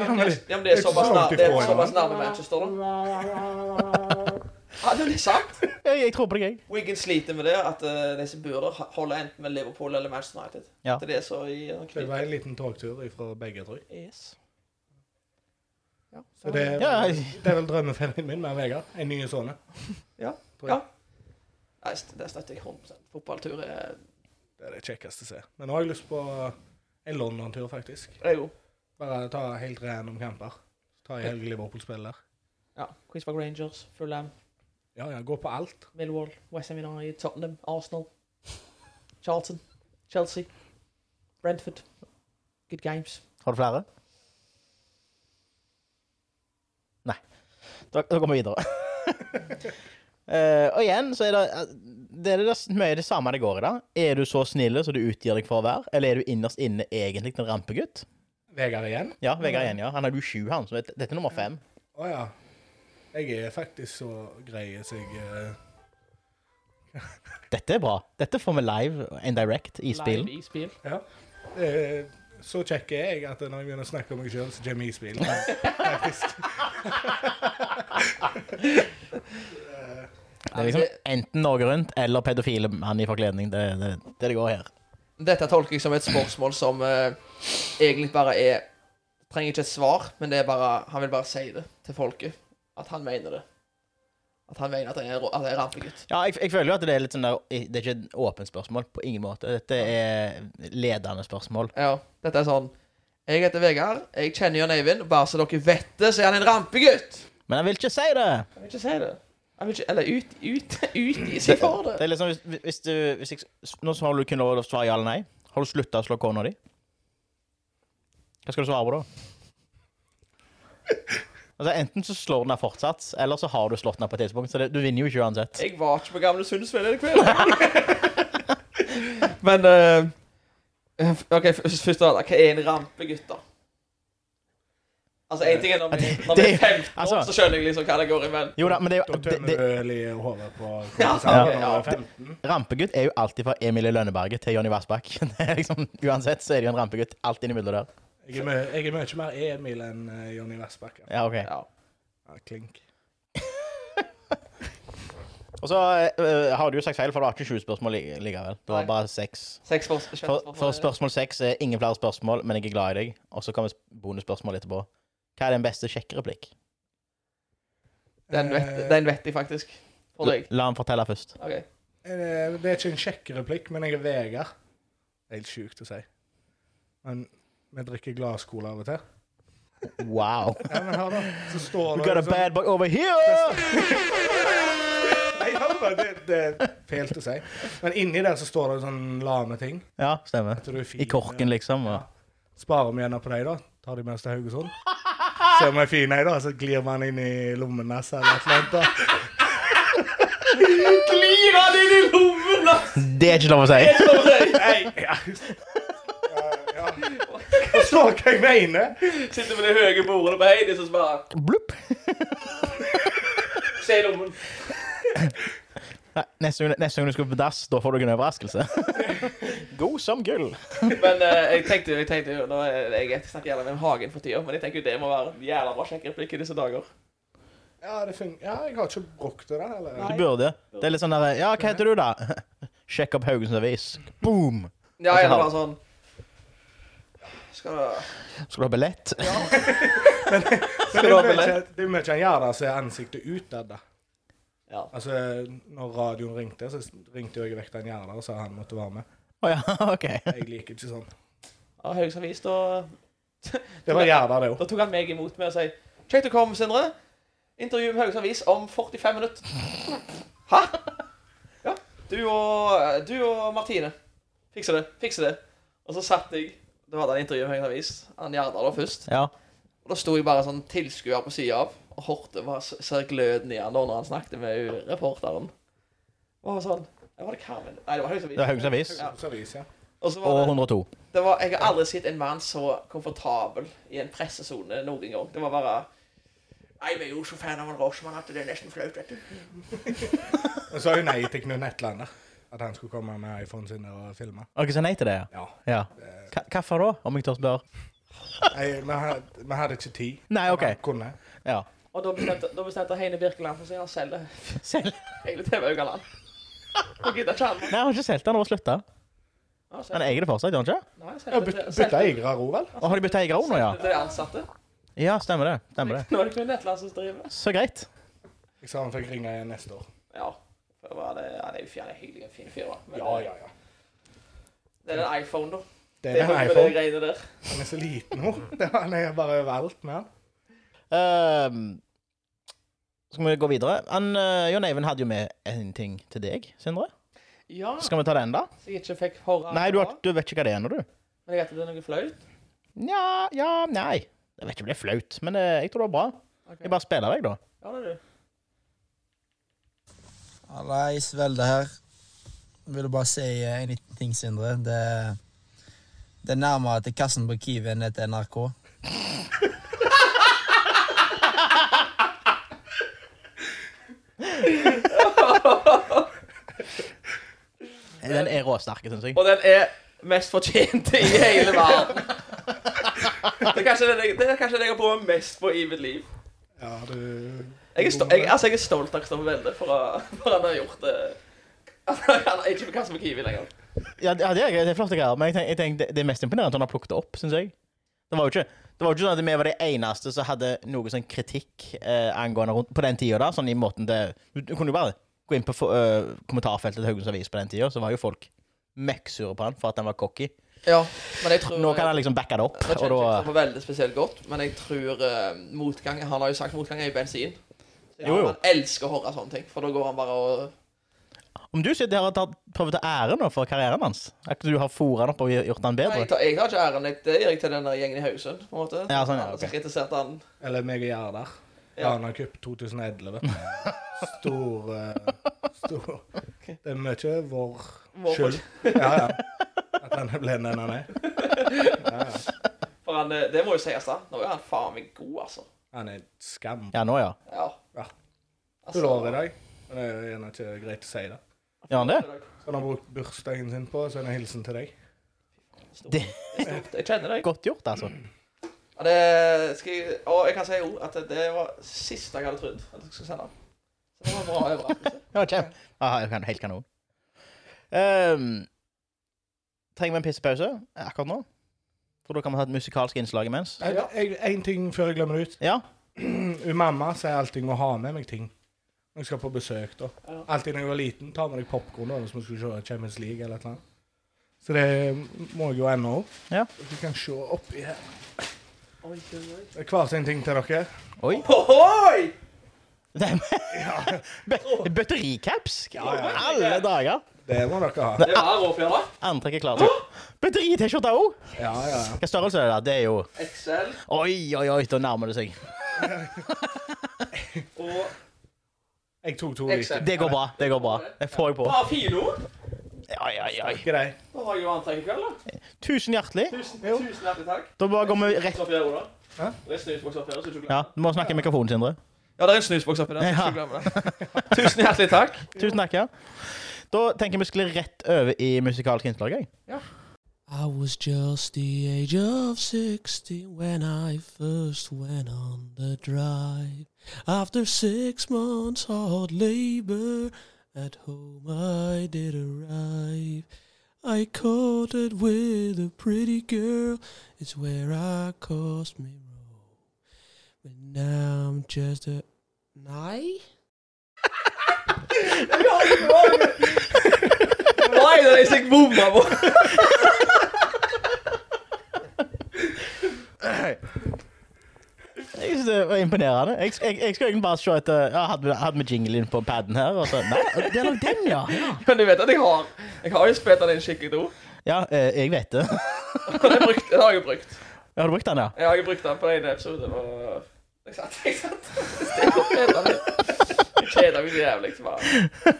Speaker 2: Ja, men det, ja, men det er såpass nær- det er såpass nærme Manchester, da. Ja, det er litt sant.
Speaker 1: Jeg, jeg tror på deg, jeg.
Speaker 2: Wigan sliter med det, at eh, de som bor der, holder enten med Liverpool eller Manchester United.
Speaker 1: Ja.
Speaker 2: Det er det som i uh,
Speaker 3: Det var en liten togtur fra begge, tror jeg.
Speaker 2: Yes. Ja.
Speaker 3: Så det,
Speaker 1: Ja, jeg-
Speaker 3: det er vel drømmeferien min med Vegard. En ny sånne.
Speaker 2: Ja.
Speaker 3: Tror jeg.
Speaker 2: Ja. Nei, st- det støtter jeg 100 Fotballtur er
Speaker 3: Det er det kjekkeste å se. Men nå har jeg lyst på en London-tur, faktisk.
Speaker 2: det er jo
Speaker 3: Bare ta helt random kamper. Ta i helg Liverpool-spill der.
Speaker 2: ja. Queensberg Rangers, Fulham,
Speaker 3: Ja, ja, gå på alt.
Speaker 2: Millwall, West Ham United, Tottenham, Arsenal, Charlton, Chelsea, Brentford. Good games.
Speaker 1: Har du flere? Nei. Da, da går vi videre. Eh, og igjen så er det eh, Det er det, s- mye det samme det går i, da. Er du så snill som du utgir deg for å være, eller er du innerst inne egentlig en rampegutt?
Speaker 3: Vegard igjen?
Speaker 1: Ja, Vegard igjen, ja. Han er jo sju, han, så dette dette er nummer fem.
Speaker 3: Å ja. Jeg er faktisk så grei som jeg eh,
Speaker 1: Dette er bra. Dette får vi live and direct i spillen.
Speaker 2: Live i spill.
Speaker 3: Ja. Eh, Så kjekk er jeg at når jeg begynner å snakke om meg sjøl, så kommer isbilen. Faktisk.
Speaker 1: Det er liksom enten Norge Rundt eller pedofile mann i forkledning. Det er det, det det går her.
Speaker 2: Dette tolker jeg som et spørsmål som eh, egentlig bare er Trenger ikke et svar, men det er bare, han vil bare si det til folket. At han mener det. At han mener at jeg er, rå- at jeg er rampegutt.
Speaker 1: Ja, jeg, jeg føler jo at det er litt sånn der Det er ikke et åpent spørsmål på ingen måte. Dette er ledende spørsmål.
Speaker 2: Ja, dette er sånn Jeg heter Vegard, jeg kjenner Jørn Eivind. Bare så dere vet det, så er han en rampegutt!
Speaker 1: Men jeg vil ikke si det!
Speaker 2: Jeg vil ikke si det. Jeg vil ikke, eller ut, ut, utgi
Speaker 1: Det,
Speaker 2: seg for
Speaker 1: det
Speaker 2: det.
Speaker 1: er liksom hvis, hvis du hvis jeg, Nå så har du kun lov til å svare ja eller nei. Har du slutta å slå kona di? Hva skal du svare på da? Altså Enten så slår den deg fortsatt, eller så har du slått den på et tidspunkt. Så det, du vinner jo ikke uansett.
Speaker 2: Jeg var ikke på Gamle Sundsvell i kveld. Men eh, OK, f- først av alt, hva er en rampegutt, da? Altså, én ting er når vi, når vi
Speaker 1: Det-
Speaker 2: er 15 år,
Speaker 1: altså-
Speaker 2: så skjønner jeg liksom hva det går i, men
Speaker 1: Jo da, men det er
Speaker 3: Da
Speaker 1: jo det,
Speaker 3: tømmer
Speaker 1: det,
Speaker 3: du øl i hodet på kompisene
Speaker 2: ja,
Speaker 3: når du
Speaker 2: ja.
Speaker 3: er 15.
Speaker 1: Rampegutt er jo alltid fra Emilie Lønneberget til Jonny Vassbakk. Det er liksom, uansett så er det jo en rampegutt alt innimellom der.
Speaker 3: Jeg er, mø jeg er mye mer Emil enn eh, Jonny Vassbakken.
Speaker 1: Ja, ok.
Speaker 2: ja.
Speaker 3: Ja, klink.
Speaker 1: Og så eh, har du jo sagt feil, for det var ikke 20 spørsmål li- likevel. Det var
Speaker 2: Nei.
Speaker 1: bare seks.
Speaker 2: Seks for, seks
Speaker 1: For, for
Speaker 2: for-
Speaker 1: spørsmål seks er ingen flere spørsmål, men jeg er glad i deg. Og så kommer bonusspørsmål etterpå. Hva er den beste sjekkereplikk?
Speaker 2: den, vet, den vet jeg faktisk. For deg.
Speaker 1: La han fortelle først.
Speaker 2: OK.
Speaker 3: Eh, Det er ikke en kjekk replikk, men jeg er Vegard. Det er helt sjukt å si. Men vi drikker glasscola av og til.
Speaker 1: Wow.
Speaker 3: Ja, men her da, så står
Speaker 1: We
Speaker 3: det
Speaker 1: got a
Speaker 3: sånn-
Speaker 1: bad boy over here!
Speaker 3: Nei, ja, men det, det er fælt å si. Men inni der så står det sånn lame ting.
Speaker 1: Ja, stemmer.
Speaker 3: At du er fin.
Speaker 1: I korken, liksom. Og.
Speaker 3: Sparer vi gjerne på deg, da. Tar de med oss til Haugesund. Ser vi er fine, da, så glir man inn i lommen hans eller et eller annet. da.
Speaker 2: Glir han inn i lommen, da!
Speaker 1: Det er ikke lov å si.
Speaker 2: Står det.
Speaker 3: Nei, ja. Ja, ja. Forstår hva jeg mener.
Speaker 2: Sitter med de høye bordene på Heidi, så bare
Speaker 1: Blupp.
Speaker 2: Se i lommen.
Speaker 1: Nei, neste, gang, neste gang du skal på dass, da får du en overraskelse. God som gull.
Speaker 2: Men eh, jeg tenkte jeg tenkte jo, nå er jeg jeg snakker gjerne med en Hagen for tida, men jeg tenker jo det må være en jævla bra sjekkereplikk i disse dager.
Speaker 3: Ja, det fun ja, jeg har ikke brukt det der. Eller?
Speaker 1: Du burde. Det er litt sånn der Ja, hva heter du, da? Sjekk opp Haugens Avis. Boom! Altså,
Speaker 2: Ja, eller
Speaker 1: ha-
Speaker 2: bare sånn Skal du
Speaker 1: Skal du ha billett?
Speaker 3: Men
Speaker 2: Skal
Speaker 3: det
Speaker 2: du ha
Speaker 3: er jo
Speaker 2: billett?
Speaker 3: mye- det er jo mye han gjør da, som er ansiktet utad. da.
Speaker 2: Ja.
Speaker 3: Altså, når radioen ringte, så ringte jo jeg vekk den Gjerda og sa han måtte være med.
Speaker 1: Å ja, OK.
Speaker 3: Jeg liker ikke sånn.
Speaker 2: Ja, Haugens Avis, da
Speaker 3: Det var Gjerda, det òg.
Speaker 2: Da tok han meg imot med å si Kjekt du kom, Sindre. Intervju med Hauges Avis om 45 minutter. Hæ? Ja. Du og, du og Martine. Fikser det. Fikser det. Og så satt jeg Det var det intervjuet med Hauges Avis. Han Gjerdal da først.
Speaker 1: Ja.
Speaker 2: Og da sto jeg bare sånn tilskuer på sida av og hørte hva s- ser gløden i han da når han snakket med u- reporteren. Og var sånn ja, Var det Carmen? Nei, det var Hauges
Speaker 1: Det var
Speaker 2: Avis.
Speaker 1: Haugens Avis.
Speaker 2: Ja.
Speaker 3: Service, ja.
Speaker 2: Og så
Speaker 1: Og
Speaker 2: var det,
Speaker 1: 102.
Speaker 2: det var, jeg har aldri sett en mann så komfortabel i en pressesone noen gang. Det var bare Nei, vi er jo så fan av han Rochman at det er nesten flaut, vet du.
Speaker 3: Og så sa jo nei til Knut Netland, da. At han skulle komme med iPhonen sin og filme.
Speaker 1: Dere sa nei til det, ja?
Speaker 3: Ja.
Speaker 1: ja. Ka- Hvorfor da, om jeg tør spørre?
Speaker 3: Nei, Vi had- vi hadde ikke tid.
Speaker 1: Nei, OK.
Speaker 3: Han kunne.
Speaker 1: Ja.
Speaker 2: Og da bestemte, da bestemte Heine Birkeland for seg han selger
Speaker 1: Selv.
Speaker 2: hele TV-Haugaland. Og gidder ikke han.
Speaker 1: Nei, han har ikke solgt den. Han har slutta.
Speaker 2: Ja,
Speaker 1: Han
Speaker 2: selger-
Speaker 1: eier det fortsatt, gjør han ikke?
Speaker 2: Nei, selger
Speaker 3: Ja,
Speaker 2: til-
Speaker 3: byt-
Speaker 2: selger-
Speaker 3: Bytta eiere òg, vel?
Speaker 1: Og har de bytta eier òg nå, ja?
Speaker 2: selger til de ansatte.
Speaker 1: Ja, stemmer det. Stemmer det.
Speaker 2: Nå er det kun Netland som driver.
Speaker 1: Så greit.
Speaker 3: Jeg sa han fikk ringe igjen neste år.
Speaker 2: Ja. Det var det, han er jo fjerne hyggelig, en fin fyr, da. Men
Speaker 3: Ja, ja, ja.
Speaker 2: det er en iPhone, da.
Speaker 3: Det
Speaker 2: Det
Speaker 3: er
Speaker 2: er
Speaker 3: den
Speaker 2: noe med de
Speaker 3: iPhone.
Speaker 2: greiene der.
Speaker 3: Han er så liten nå. Det var- Han er bare overalt med han.
Speaker 1: Ehm, skal vi gå videre? Han, eh, Jon Eivind hadde jo med en ting til deg, Sindre.
Speaker 2: Ja,
Speaker 1: Skal vi ta den, da?
Speaker 2: så jeg ikke fikk høre
Speaker 1: Nei, du, har,
Speaker 2: hva,
Speaker 1: du vet ikke hva det er nå, du?
Speaker 2: Men jeg vet at det er noe flaut.
Speaker 1: Nja, ja, nei. Jeg vet ikke om det er flaut, men eh, jeg tror det var bra.
Speaker 2: Ok.
Speaker 1: Jeg bare spiller, jeg, da.
Speaker 2: Ja, det er du.
Speaker 5: Hallais, Velde her. Jeg ville bare si eh, en liten ting, Sindre. Det, det er nærmere til kassen på Kiwi enn det er til NRK.
Speaker 1: Den er råsterk, syns jeg.
Speaker 2: Og den er mest fortjent i hele verden. Det er kanskje det, jeg- det, er kanskje det jeg har prøvd mest på i mitt liv.
Speaker 3: Ja, du
Speaker 2: Jeg er, sto jeg, altså, jeg er stolt av Kristoffer Welde for, å- for han har gjort det. Altså, han er ikke på kassen med Kiwi lenger.
Speaker 1: Ja, det, ja, det, er, det er flotte greier, men jeg tenk, jeg tenk, det, det er mest imponerende at han har plukket det opp, syns jeg. Det var jo ikke, det var jo ikke sånn at vi var de eneste som hadde noe sånn kritikk eh, angående rundt, på den tida, da, sånn i måten det Du, du kunne jo bare gå inn på fo- eh, kommentarfeltet til Haugens Avis på den tida, så var jo folk møkksure på han for at han var cocky.
Speaker 2: Ja, men jeg tror eh,
Speaker 1: Nå kan han liksom backe det opp,
Speaker 2: Jeg
Speaker 1: og
Speaker 2: kjenner
Speaker 1: da
Speaker 2: Kristoffer Welde spesielt godt, men jeg tror eh, motgang Han har jo sagt motgang er jo bensin. Så
Speaker 1: Jo, jo.
Speaker 2: Han elsker å høre sånne ting, for da går han bare og
Speaker 1: Om du sitter her og tar, prøver å ta æren nå for karrieren hans, er ikke du har fôret han opp og gjort han
Speaker 2: Nei, jeg,
Speaker 1: bedre?
Speaker 2: tar, jeg tar ikke æren. jeg- Det gir jeg til den der gjengen i Haugesund. på en måte.
Speaker 1: Ja, sånn, ja,
Speaker 2: Han som
Speaker 1: ok.
Speaker 2: kritiserte han.
Speaker 3: Eller meg og Gjerdar.
Speaker 2: Ja.
Speaker 3: Rana Cup 2011. Stor eh, Stor Det er mye vår
Speaker 2: Vår
Speaker 3: skyld. Ja, ja. At han ble den han er. Ja, ja.
Speaker 2: For han, eh, det må jo sies, da. Nå er han faen meg god, altså.
Speaker 3: Han er et skam.
Speaker 1: Ja, nå, ja.
Speaker 2: Ja.
Speaker 3: Ja.
Speaker 2: Altså,
Speaker 3: Full år i dag. Men det er jo gjerne ikke greit å si det.
Speaker 1: Gjør han det?
Speaker 3: Så han har brukt bursdagen sin på, så er det en hilsen til deg.
Speaker 1: Det
Speaker 2: Stort. Jeg kjenner deg.
Speaker 1: Godt gjort, altså.
Speaker 2: Ja, det skal jeg, og jeg kan si jo at det var siste jeg hadde trodd at jeg skulle sende han. Så det var en bra overraskelse.
Speaker 1: Ja, kjem. Ah, kan- helt kanon. Ehm, trenger vi en pissepause akkurat nå? For da kan vi ha et musikalsk innslag imens.
Speaker 3: Nei, jeg- En ting før jeg glemmer det ut.
Speaker 1: Ja.
Speaker 3: Hun mamma sier alltid å ha med meg ting når jeg skal på besøk. da.
Speaker 2: Ja.
Speaker 3: Alltid når jeg var liten, ta med deg popkorn hvis vi skulle se Champions League eller et eller annet. Så det må jeg jo ennå opp.
Speaker 1: Ja.
Speaker 3: Du kan se oppi her.
Speaker 2: Oi, oi, oi.
Speaker 3: Det er hver sin ting til dere.
Speaker 1: Oi.
Speaker 2: Ohoi!
Speaker 1: Bø- Bøttericaps?
Speaker 3: Ja, ja, ja.
Speaker 1: Alle dager!
Speaker 3: Det må dere ha.
Speaker 2: Det var råfjær, da.
Speaker 1: Antrekk er klart. Bøtteri-T-skjorte òg!
Speaker 3: Ja, ja. ja.
Speaker 1: Hva størrelse er det? da? Det er jo
Speaker 2: XL
Speaker 1: Oi, oi, oi, da nærmer det seg.
Speaker 2: og
Speaker 3: Jeg tok to
Speaker 2: XL.
Speaker 3: liter.
Speaker 1: Det går bra. det går bra. Det får jeg på.
Speaker 2: Ah, Filo!
Speaker 1: Oi, oi, oi.
Speaker 3: Grei.
Speaker 2: Da har jeg jo antrekk i kveld, da.
Speaker 1: Tusen hjertelig.
Speaker 2: Tusen, tusen hjertelig takk.
Speaker 1: Da bare går vi rett
Speaker 2: Kristoffer Ola.
Speaker 3: Hæ?
Speaker 2: Det er snusboksoppgjør, så du
Speaker 1: Ja, Du må snakke i mikrofonen, Sindre.
Speaker 2: Ja, det er en snusboks oppi der. så
Speaker 1: Ja.
Speaker 2: Ikke glem det. Tusen hjertelig takk.
Speaker 1: Tusen takk. ja. Da tenker jeg vi skulle rett over i musikalsk innslag. jeg.
Speaker 6: I was just the age of 16 when I first went on the drive. After six months hard labor, at home I did arrive. I caught it with a pretty girl, it's where I caused me wrong. But now I'm just a. Nye?
Speaker 2: Nei, det er det jeg bomma på.
Speaker 1: Jeg synes det var imponerende. Jeg, jeg, jeg skulle egentlig bare se etter ja, Hadde vi- hadde vi jingle inn på paden her? Og så, nei, det er nok den, ja. Ja,
Speaker 2: Men du vet at jeg har Jeg har jo spilt den inn skikkelig do.
Speaker 1: ja eh, jeg vet det.
Speaker 2: Og det, brukt, det har jeg jo brukt.
Speaker 1: Har du brukt den, ja?
Speaker 2: Jeg har jo brukt den på den ene episoden. Og jeg satt, jeg satt. Jeg kjeda meg Kjeda meg så jævlig. så bare.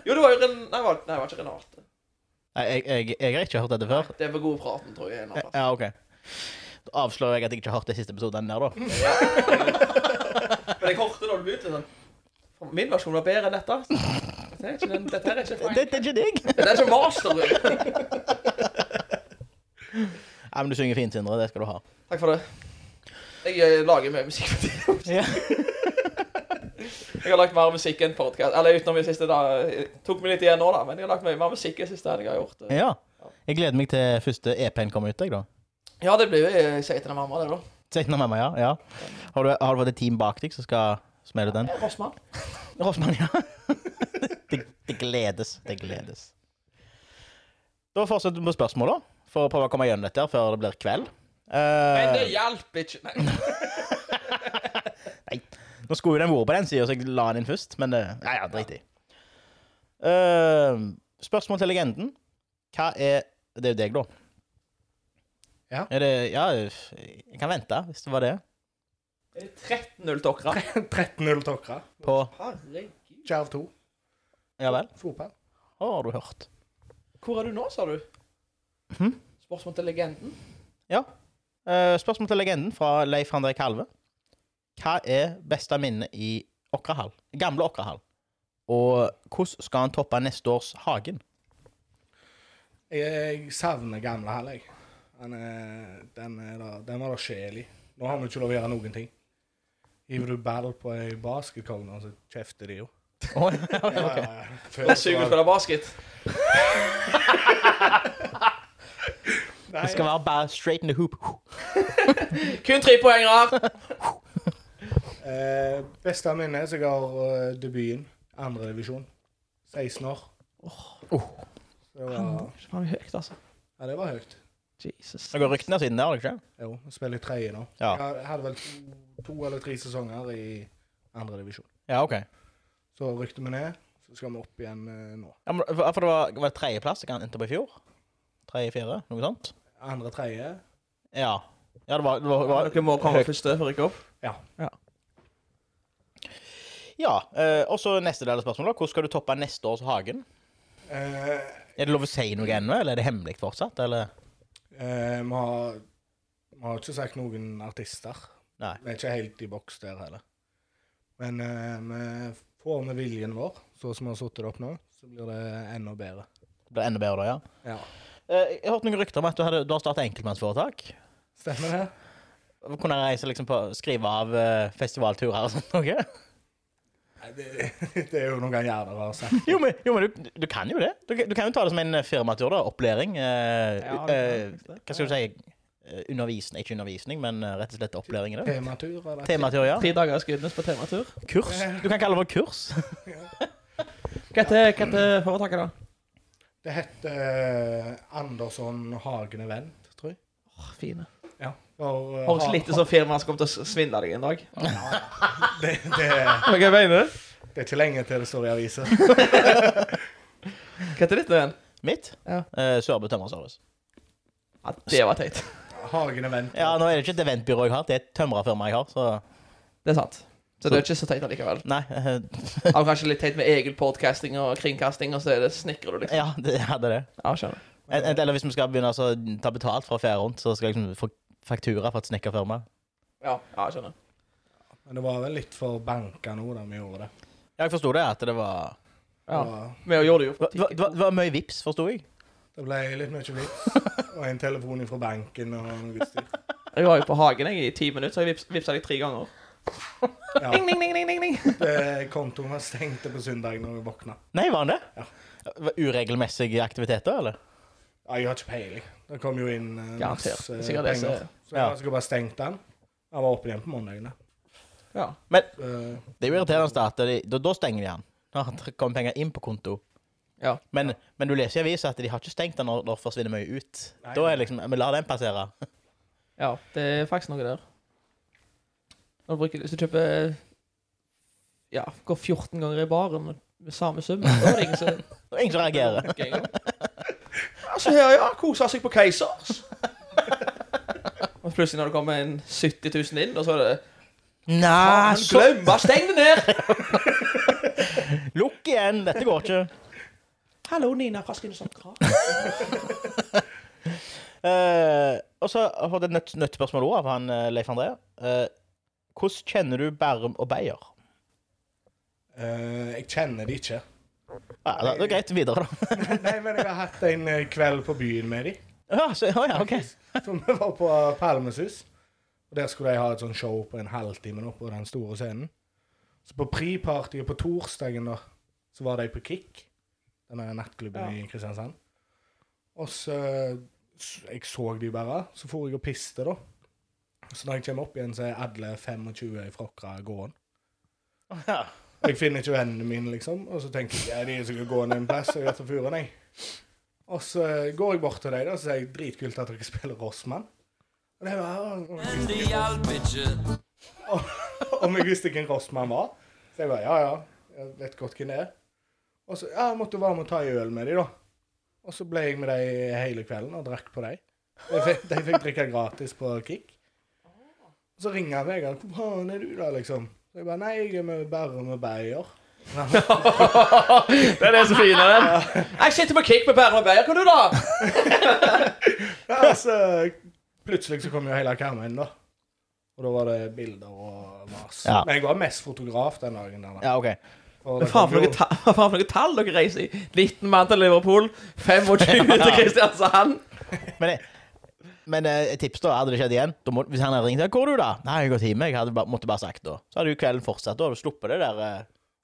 Speaker 2: Jo, det var jo Ren... Nei, det var, nei, det var ikke Renate.
Speaker 1: Nei, Jeg, jeg, jeg har ikke hørt dette før.
Speaker 2: Det er på gode praten, tror jeg. en eller annen
Speaker 1: Ja, OK. Da avslører jeg at jeg ikke har hørt de siste episodene der, da.
Speaker 2: plass. Men jeg hørte da du begynte sånn "Faen, Min versjon var bedre enn dette. Det er ikke den, dette her er
Speaker 1: Det,
Speaker 2: ikke fine.
Speaker 1: det er ikke deg.
Speaker 2: Det er ikke master. Du.
Speaker 1: Ja, men du synger fint, Sindre. Det skal du ha.
Speaker 2: Takk for det. Jeg eh, lager mye musikk for tiden.
Speaker 1: Ja.
Speaker 2: Jeg har lagt mer musikk enn podcast. Eller utenom i siste dag. Jeg Tok meg litt igjen nå, da. Men jeg har lagt mye mer musikk i siste enn jeg har gjort. eh.
Speaker 1: ja. Jeg gleder meg til første EP-en kommer ut, jeg, da.
Speaker 2: Ja, det blir jo eh, jeg sier til den mamma, det, da.
Speaker 1: 16. mai, ja. ja. Har, du, har du fått et team bak deg som skal smelle den?
Speaker 2: Rossmann.
Speaker 1: Rossmann, ja. det, det gledes. Det gledes. Da fortsetter vi med spørsmål, da. For å prøve å komme gjennom dette her før det blir kveld.
Speaker 2: Men det
Speaker 1: Eh,
Speaker 2: hjalp ikke. Nei.
Speaker 1: nå skulle jo den vært på den sida, så jeg la den inn først. Men det, ja, ja, drit i. Eh, spørsmål til legenden. Hva er Det er jo deg, da.
Speaker 3: Ja.
Speaker 1: Er det, ja, jeg kan vente, hvis det var det.
Speaker 2: 13-0 Tokra.
Speaker 3: 13-0 Tokra.
Speaker 1: På
Speaker 2: Herregud.
Speaker 3: Jerv 2.
Speaker 1: Ja vel?
Speaker 3: Fotball.
Speaker 1: Har du hørt?
Speaker 2: Hvor er du nå, sa du?
Speaker 1: Hm?
Speaker 2: Spørsmål til legenden.
Speaker 1: Eh, spørsmål til legenden fra Leif André Kalve. Hva er beste minne i Åkrahall? Gamle Åkrahall. Og hvordan skal han toppe neste års Hagen?
Speaker 3: Jeg savner gamle hall, jeg. Den, er, den, er da, den var da sjel i. Nå har vi ikke lov å gjøre noen ting. Hiver du ball på ei basketkogne, så kjefter de jo.
Speaker 1: Å, ja,
Speaker 3: Ja,
Speaker 1: ok.
Speaker 3: ja, ja. Før
Speaker 2: Vær så god,
Speaker 3: var-
Speaker 2: spille basket.
Speaker 3: Nei,
Speaker 1: Det skal være bare straight in the hoop.
Speaker 2: Kun tre poengere.
Speaker 3: Eh, beste minne så jeg har eh, debuten. Andredivisjon. 16 år.
Speaker 1: Oh.
Speaker 3: Så det var,
Speaker 2: Faen, vi er høyt, altså.
Speaker 3: ja, det var høyt.
Speaker 2: Jesus.
Speaker 1: Det går ryktene siden der, har det ikke?
Speaker 3: Jo, jeg spiller i tredje nå.
Speaker 1: Ja.
Speaker 3: Jeg hadde vel to, to eller tre sesonger i andredivisjon.
Speaker 1: Ja, ok.
Speaker 3: Så rykte vi ned, så skal vi opp igjen eh, nå.
Speaker 1: Ja, men, for for det var, var det tredjeplass jeg endte på i fjor? Tredje-fjerde? Noe sånt?
Speaker 3: Andre-tredje.
Speaker 1: Ja. Ja, det var, det var, det var
Speaker 2: Dere må komme første for å rykke opp.
Speaker 1: Ja. eh, og så neste del av spørsmålet. da. Hvordan skal du toppe neste års Hagen?
Speaker 3: Eh,
Speaker 1: Er det lov å si noe ennå, eller er det hemmelig fortsatt? Eller?
Speaker 3: eh, vi har Vi har ikke sagt noen artister.
Speaker 1: Nei.
Speaker 3: Vi er ikke helt i boks der heller. Men eh, vi får med viljen vår, sånn som vi har satt det opp nå, så blir det enda bedre.
Speaker 1: Det blir enda bedre da, ja.
Speaker 3: Ja.
Speaker 1: Eh, Jeg har hørt noen rykter om at du, hadde, du har startet enkeltmannsforetak.
Speaker 3: Stemmer det?
Speaker 1: Kunne jeg reise liksom på skrive av eh, festivalturer og sånt noe?
Speaker 3: Nei, det, det er jo noe han gjerne har sagt.
Speaker 1: Jo, men, jo, men du, du kan jo det. Du, kan- du kan jo ta det som en eh, firmatur, da. Opplæring. eh,
Speaker 2: Ja, det er
Speaker 1: eh,
Speaker 2: faktisk det.
Speaker 1: hva skal du si? Eh, Undervisning, ikke undervisning, men eh, rett og slett opplæring i det.
Speaker 3: Tematur, eller?
Speaker 1: Tematur, ja.
Speaker 2: Tre dager skuddnes på tematur.
Speaker 1: Kurs. Du kan kalle det for kurs.
Speaker 2: Hva heter hva heter foretaket, da?
Speaker 3: Det heter eh, Andersson Hagen Event, tror jeg.
Speaker 2: Åh, fine.
Speaker 3: Ja. For, eh,
Speaker 2: Høres
Speaker 3: ha-
Speaker 2: litt ut som firmaet som kommer til å svindle deg en dag.
Speaker 3: det, det,
Speaker 2: Hva mener du?
Speaker 3: det er ikke lenge til det står i avisa.
Speaker 2: Hva heter ditt nå igjen?
Speaker 1: Mitt.
Speaker 2: Ja.
Speaker 1: Eh, Sørbø tømmerservice.
Speaker 2: Ja, det var teit.
Speaker 3: Hagen Event.
Speaker 1: Ja, nå er det ikke et eventbyrå jeg har, det er et tømrerfirma jeg har, så
Speaker 2: Det er sant. Så det er ikke så teit allikevel.
Speaker 1: Nei. eh,
Speaker 2: Det var kanskje litt teit med egen podcasting og kringkasting, og så er det snikker du, liksom.
Speaker 1: Ja, det jeg hadde det.
Speaker 2: Ja, skjønner.
Speaker 1: Et- et- Eller hvis vi skal begynne å ta betalt for å ferde rundt, så skal jeg liksom få faktura fra et snekkerfirma.
Speaker 2: Ja, ja skjønner.
Speaker 3: Men det var vel litt for banka nå da vi gjorde det.
Speaker 1: Jeg forsto det, at det var
Speaker 3: Det,
Speaker 1: Ja.
Speaker 3: var,
Speaker 2: Vi gjorde det jo
Speaker 1: Det
Speaker 2: på
Speaker 1: var, det var, det var mye vips, forsto jeg.
Speaker 3: det ble litt mye vits. Og en telefon fra banken og noe styr.
Speaker 2: Jeg var jo på Hagen jeg, i ti minutter, så jeg vips, vipsa deg tre ganger.
Speaker 3: Ja.
Speaker 2: Ding, ding, ding, ding, ding, ding.
Speaker 3: Det- Kontoen var stengt på søndag når vi våkna.
Speaker 1: Nei, var han det?
Speaker 3: Ja.
Speaker 1: Var Uregelmessige aktiviteter, eller?
Speaker 3: Ja, jeg har ikke peiling. Det kom jo inn eh,
Speaker 2: Garantert.
Speaker 3: masse
Speaker 2: Sikkert
Speaker 3: penger.
Speaker 2: disse-
Speaker 3: Så jeg
Speaker 1: Ja.
Speaker 3: har sikkert bare stengt den. Den var oppe igjen på mandagene.
Speaker 2: Ja.
Speaker 1: Men
Speaker 3: Eh,
Speaker 1: det er jo irriterende at de, da, da stenger de den. Ja, det kommer penger inn på konto.
Speaker 2: Ja.
Speaker 1: Men, men du leser i avisa at de har ikke stengt den når det forsvinner mye ut.
Speaker 3: Nei.
Speaker 1: Da er det liksom Vi lar den passere.
Speaker 2: ja, det er faktisk noe der. Når du bruker, hvis du kjøper Ja, går 14 ganger i baren med, med samme sum, da er det ingen som
Speaker 1: Det er ingen som reagerer.
Speaker 2: Ok, ja. Altså, her, ja. Kosa seg på Keisers. Og plutselig når det kommer en 70 000 inn, og så er det
Speaker 1: Nei,
Speaker 2: Han glemmer, steng det ned!
Speaker 1: Lukk igjen! Dette går ikke.
Speaker 2: Hallo, Nina fra Skinnesand Krav.
Speaker 1: Eh, og så har jeg et nødt, nøttspørsmål også av han eh, Leif André. Eh, hvordan kjenner du Bærum og Beyer?
Speaker 3: eh, jeg kjenner de ikke.
Speaker 1: Ja, det, det er greit. Videre, da.
Speaker 3: Nei, men jeg har hatt en eh, kveld på byen med de.
Speaker 1: Ja, så, å ja, OK.
Speaker 3: For vi var på eh, Palmesus, og der skulle de ha et sånt show på en halvtime nå på den store scenen. Så på pre-partyet på torsdagen da, så var de på Kick, denne nattklubben i Kristiansand. Og så, s- jeg så de bare, så for jeg og piste da. Så når jeg kommer opp igjen, så er alle 25 i frokra gående.
Speaker 1: Ja.
Speaker 3: Og Jeg finner ikke vennene mine, liksom. Og så tenker jeg ja, de er sikkert gående en plass. Og jeg tar fyren, jeg. Og så går jeg bort til dem da, og sier jeg, dritkult at dere spiller Rossmann. Og det var Om jeg visste hvem Rossmann var. Så jeg bare ja, ja, jeg vet godt hvem det er. Og så ja, jeg måtte være med og ta en øl med dem, da. Og så ble jeg med dem hele kvelden og drakk på dem. De fikk, de fikk drikke gratis på Kick. Og så ringer han Vegard. 'Hvor faen er du, da?' liksom. Så jeg bare 'Nei, jeg er med bare med Beyer'.
Speaker 2: Det er det som er fint, den. Jeg sitter på kick med Bærum og Beyer, kan du da?
Speaker 3: Ja, så plutselig så kom jo hele kameraet inn, da. Og da var det bilder og mas.
Speaker 1: Ja.
Speaker 3: Men jeg var mest fotograf den dagen. Der, da.
Speaker 1: ja, OK.
Speaker 3: Og
Speaker 2: Hva
Speaker 3: det
Speaker 2: faen
Speaker 3: kom
Speaker 2: for noe
Speaker 3: jo-
Speaker 2: ta- hva faen for noe tall dere reiser i? 19 mann til Liverpool, 25 til Kristiansand.
Speaker 1: Men, eh, men eh, et tips, da. Hadde det skjedd igjen da må, Hvis han hadde ringt ja, 'Hvor er du, da?' 'Nei, jeg går time.' Jeg hadde bare, måtte bare sagt da. Så hadde jo kvelden fortsatt. Da hadde du sluppet det der eh,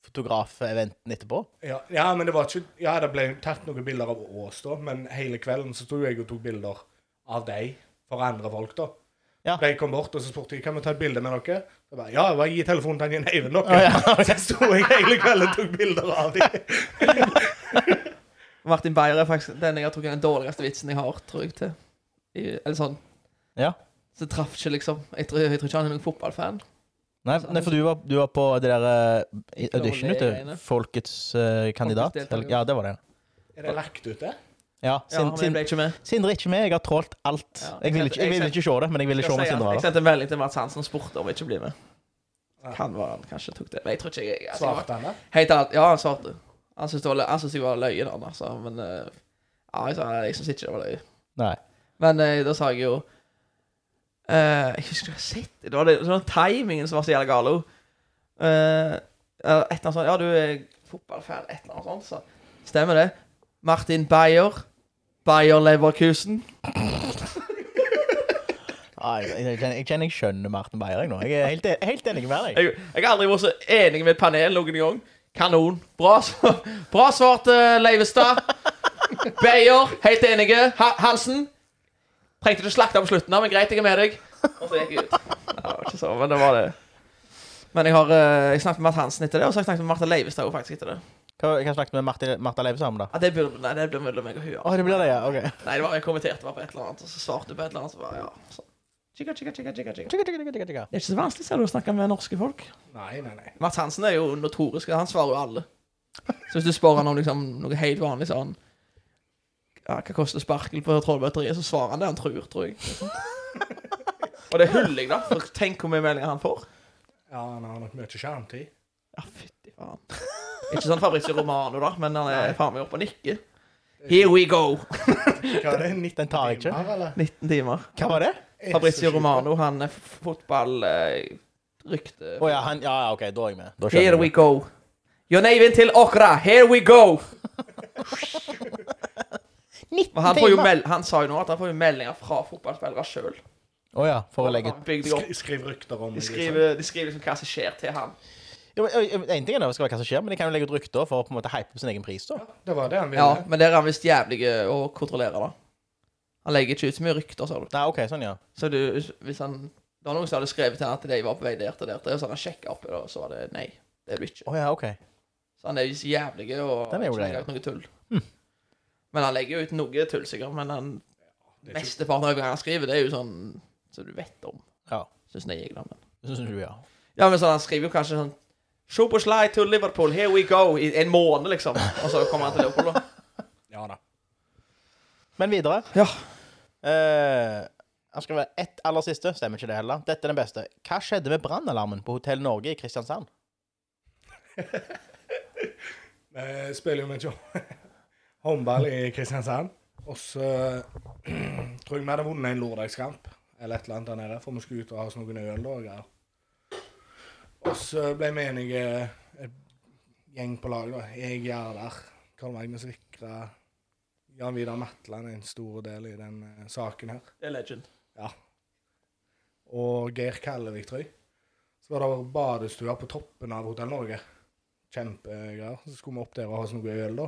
Speaker 1: fotografeventen etterpå.
Speaker 3: ja, ja, men det var ikke Ja, det ble tatt noen bilder av Ås, da, men hele kvelden så sto jeg og tok bilder av deg for andre folk, da.
Speaker 1: Ja.
Speaker 3: De kom bort og så spurte jeg, kan vi ta et bilde med dere. Jeg bare, ja, bare gi telefonen til Jan Eivind dere.
Speaker 1: Å, ja.
Speaker 3: Så sto jeg hele kvelden og tok bilder av dem.
Speaker 2: Martin Beyer er faktisk den jeg har trukket den dårligste vitsen jeg har, tror jeg, til. I, eller sånn.
Speaker 1: Ja.
Speaker 2: Så det traff ikke, liksom. Jeg tror, jeg tror ikke han er noen fotballfan.
Speaker 1: Nei, nei for du var, du var på det der eh, audition, vet du.
Speaker 2: Rollegreiene.
Speaker 1: Folkets eh, kandidat.
Speaker 2: Folkets deltaker.
Speaker 1: Eller, ja, det var det.
Speaker 3: Er det lagt ut, det?
Speaker 1: Ja,
Speaker 2: Ja,
Speaker 1: sin,
Speaker 2: han
Speaker 1: sin,
Speaker 2: ble ikke med.
Speaker 1: Sindre er ikke med. Jeg har trålt alt. jeg,
Speaker 2: Ja, jeg
Speaker 1: vil
Speaker 2: sendte-
Speaker 1: ikke, jeg
Speaker 2: jeg
Speaker 1: vil
Speaker 2: sendte-
Speaker 1: ikke se det, men jeg ville se
Speaker 2: Skal
Speaker 1: om
Speaker 2: si at
Speaker 1: Sindre var
Speaker 2: Jeg
Speaker 1: der.
Speaker 2: sendte en melding til Mats Hansen og spurte om jeg ikke ble med. Kan være han kanskje tok det. Men jeg tror ikke jeg, altså, jeg var-
Speaker 3: Svarte han det?
Speaker 2: Helt ærlig, ja, han svarte. Han syntes det var lø- han syntes jeg var løyen, han, altså. Men eh, ja, jeg sa jeg syns ikke det var løye.
Speaker 1: Nei.
Speaker 2: Men eh, da sa jeg jo eh, Jeg husker ikke hva jeg sa. Det var det, det var timingen som var så jævla gal. Uh, et eller annet sånt. Ja, du er fotballfan, et eller annet sånt. Så. Stemmer det. Martin Beyer. Beyer Leverkusen.
Speaker 1: Nei, jeg, jeg, kjenner, jeg kjenner jeg skjønner Martin Beyer jeg nå. Jeg er helt, e- helt enig med deg.
Speaker 2: Jeg, jeg har aldri vært så enig med et panel noen gang. Kanon. Bra, svar- bra svart, eh, Leivestad. Beyer, helt enige. Ha Hansen. Trengte du slakte på slutten, da, men greit, jeg er med deg. Og så gikk jeg ut. Nei, det var ikke så, men det var det. Men jeg har eh, jeg snakket med Mart Hansen etter det, og så har jeg snakket med Martha Leivestad også faktisk etter det.
Speaker 1: Hva hva snakket med Martin, Martha Leive sammen, da?
Speaker 2: Ja, det blir, nei, det blir mellom meg og hun.
Speaker 1: Å, det blir det, ja. OK.
Speaker 2: Nei, det var, jeg kommenterte bare på et eller annet, og så svarte hun på et eller annet, så bare, ja. Sånn. Chika, chika, chika, chika, chika.
Speaker 1: Tjekka, tjekka, tjekka, tjekka.
Speaker 2: Det er ikke så vanskelig, ser du, å snakke med norske folk.
Speaker 3: Nei, nei, nei.
Speaker 2: Mats Hansen er jo notorisk, han svarer jo alle. Så hvis du spør han om liksom, noe helt vanlig sånn ja, Hva koster sparkel på trollbatteriet? Så svarer han det han tror, tror jeg. Og det er hullig, da. For tenk hvor mye meldinger han får.
Speaker 3: Ja, han har nok mye skjermtid.
Speaker 2: Ja, fytti faen. Ikke sånn Fabrizio Romano, da, men han er faen meg oppe og nikker. Here we go!
Speaker 3: Hva er det, 19
Speaker 1: Den tar jeg ikke.
Speaker 3: timer, eller?
Speaker 2: 19 timer.
Speaker 1: Hva var det?
Speaker 3: Er det så
Speaker 2: Fabrizio
Speaker 3: sjukt?
Speaker 2: Romano, han er f- fotball... Eh, rykte.
Speaker 1: Å ja, han, ja, ja, OK, da er jeg med. Da
Speaker 2: Here
Speaker 1: skjønner
Speaker 2: we
Speaker 1: jeg.
Speaker 2: go. Joneivind til Åkra. Here we go! Men han, får jo mel han sa jo nå at han får jo meldinger fra fotballspillere sjøl.
Speaker 1: Å ja, for å legge
Speaker 2: De
Speaker 3: Skri, skriv rykter om
Speaker 2: skriver, de skriver liksom hva som skjer til han.
Speaker 1: Ja, men, ø, ø, En ting er det skal være hva som skjer, men de kan jo legge ut rykter for å på en måte hype på sin egen pris, da.
Speaker 3: liksom. Det var det han ville.
Speaker 2: Ja, Men der er han visst jævlig å kontrollere, da. Han legger ikke ut så mye rykter, sa du.
Speaker 1: Nei, OK, sånn, ja.
Speaker 2: Så du, hvis han Det var noen som hadde skrevet til han at de var på vei der til der, til, og så hadde han sjekka opp, og så var det nei. Det er du ikke.
Speaker 1: Å ja, OK.
Speaker 2: Så han er jo Hm. så jævlig og
Speaker 1: Den er jo
Speaker 2: ikke
Speaker 1: grei,
Speaker 2: legger ut noe tull. Men han legger jo ut noe tull, sikkert. Men han,
Speaker 3: Det er ikke-
Speaker 2: mesteparten av hva han skriver, det er jo sånn som du vet om.
Speaker 1: Ja.
Speaker 2: Syns jeg, da. Men.
Speaker 1: Det syns du, ja.
Speaker 2: Ja, men sånn, han skriver jo kanskje sånn Show på slide to Liverpool, here we go! I en måned, liksom. Og så kommer han til Liverpool, da.
Speaker 3: Ja da.
Speaker 1: Men videre.
Speaker 2: Ja.
Speaker 1: Eh, han skal være ett aller siste. Stemmer ikke det heller. Dette er den beste. Hva skjedde med brannalarmen på Hotell Norge i Kristiansand?
Speaker 3: Vi Eh, spiller jo med jo håndball i Kristiansand. Og så tror jeg vi hadde vunnet en lørdagskamp eller et eller annet der nede, for vi skulle ut og ha oss noen øl da og greier. Og så ble vi enige, eh, et gjeng på lag, da. Jeg, Gjerdar, Karl Magnus Vikra, Jan Vidar Matland er en stor del i den eh, saken her.
Speaker 2: Det er legend.
Speaker 3: Ja. Og Geir Kallevik, tror jeg. Så var det badestua på toppen av Hotell Norge. Kjempegreier. Så skulle vi opp der og ha oss noe øl, da.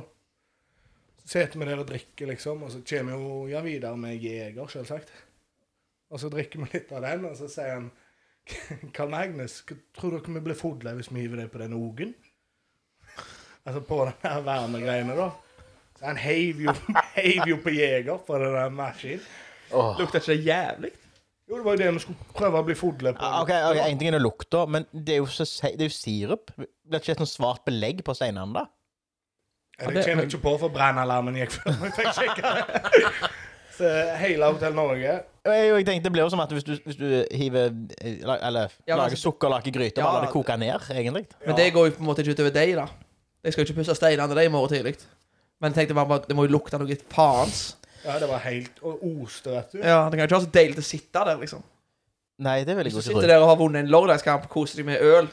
Speaker 3: Så sitter vi der og drikker, liksom, og så kommer jo Jan Vidar med Jeger, selvsagt. Og så drikker vi litt av den, og så sier han Karl Magnus, hva tror dere vi blir fodla hvis vi hiver deg på den ogen? Altså på den her vernegreiene, da. Så han heiv jo, heiv jo på Jeger på den der maskinen.
Speaker 2: Lukter ikke det jævlig?
Speaker 3: Jo, det var jo det vi skulle prøve å bli fodlet på.
Speaker 1: Ah, OK, ok, en ting er det lukta, men det er jo, så, si- det er jo sirup. Blir det ikke et sånt svart belegg på steinene, da?
Speaker 3: Ja, det kommer jeg ikke på, for brannalarmen gikk før vi fikk sjekka det. Så hele Hotell Norge
Speaker 1: Og Jeg, og jeg tenkte Det blir jo som at hvis du, hvis du hiver eh, la- Eller
Speaker 2: Ja, men
Speaker 1: lager
Speaker 2: altså-
Speaker 1: sukkerlake i gryte,
Speaker 2: Ja,
Speaker 1: bare lar det koke ned, egentlig.
Speaker 2: Men det går jo på en måte ikke utover deg, da. Jeg skal jo ikke pusse steinene deg i morgen tidlig. Men jeg tenkte bare bare, det må jo lukte noe faens.
Speaker 3: Ja, det var helt Og oste, vet du.
Speaker 2: Ja, Det kan jo ikke være så deilig å sitte der, liksom.
Speaker 1: Nei, det vil jeg
Speaker 2: Hvis du
Speaker 1: jo ikke
Speaker 2: sitter
Speaker 1: tro.
Speaker 2: der og har vunnet en lørdagskamp, koser deg med øl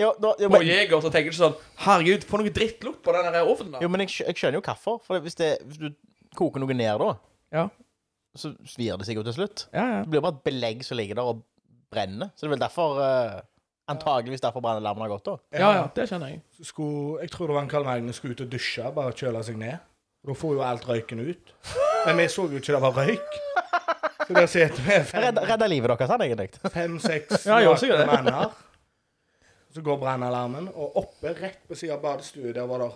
Speaker 1: Jo, da, jo,
Speaker 2: på
Speaker 1: men,
Speaker 2: Jeger, så tenker du sånn Herregud, få noe drittlukt på den der ovnen,
Speaker 1: jo,
Speaker 2: da.
Speaker 1: men jeg, skj- jeg skjønner jo hvorfor. For hvis, det, hvis du koker noe ned da,
Speaker 2: Ja.
Speaker 1: så svir det seg jo til slutt.
Speaker 2: Ja, ja.
Speaker 1: Det blir bare et belegg som ligger der og brenner. Så det er vel derfor eh, Antageligvis derfor brannalarmen har gått, da.
Speaker 2: Ja, ja, det skjønner jeg.
Speaker 3: Så skulle, jeg tror det var en Karl Magnus skulle ut og dusje, bare kjøle seg ned. Og Da får jo alt røyken ut. Men vi så jo ikke det var røyk. Så der sitter vi
Speaker 1: Redda,
Speaker 3: fem-
Speaker 1: redda livet deres, han, egentlig.
Speaker 3: fem-seks
Speaker 2: Ja, jeg også gjør
Speaker 3: nakne
Speaker 2: det.
Speaker 3: manner. Så går brannalarmen, og oppe rett på siden av badestua der var det,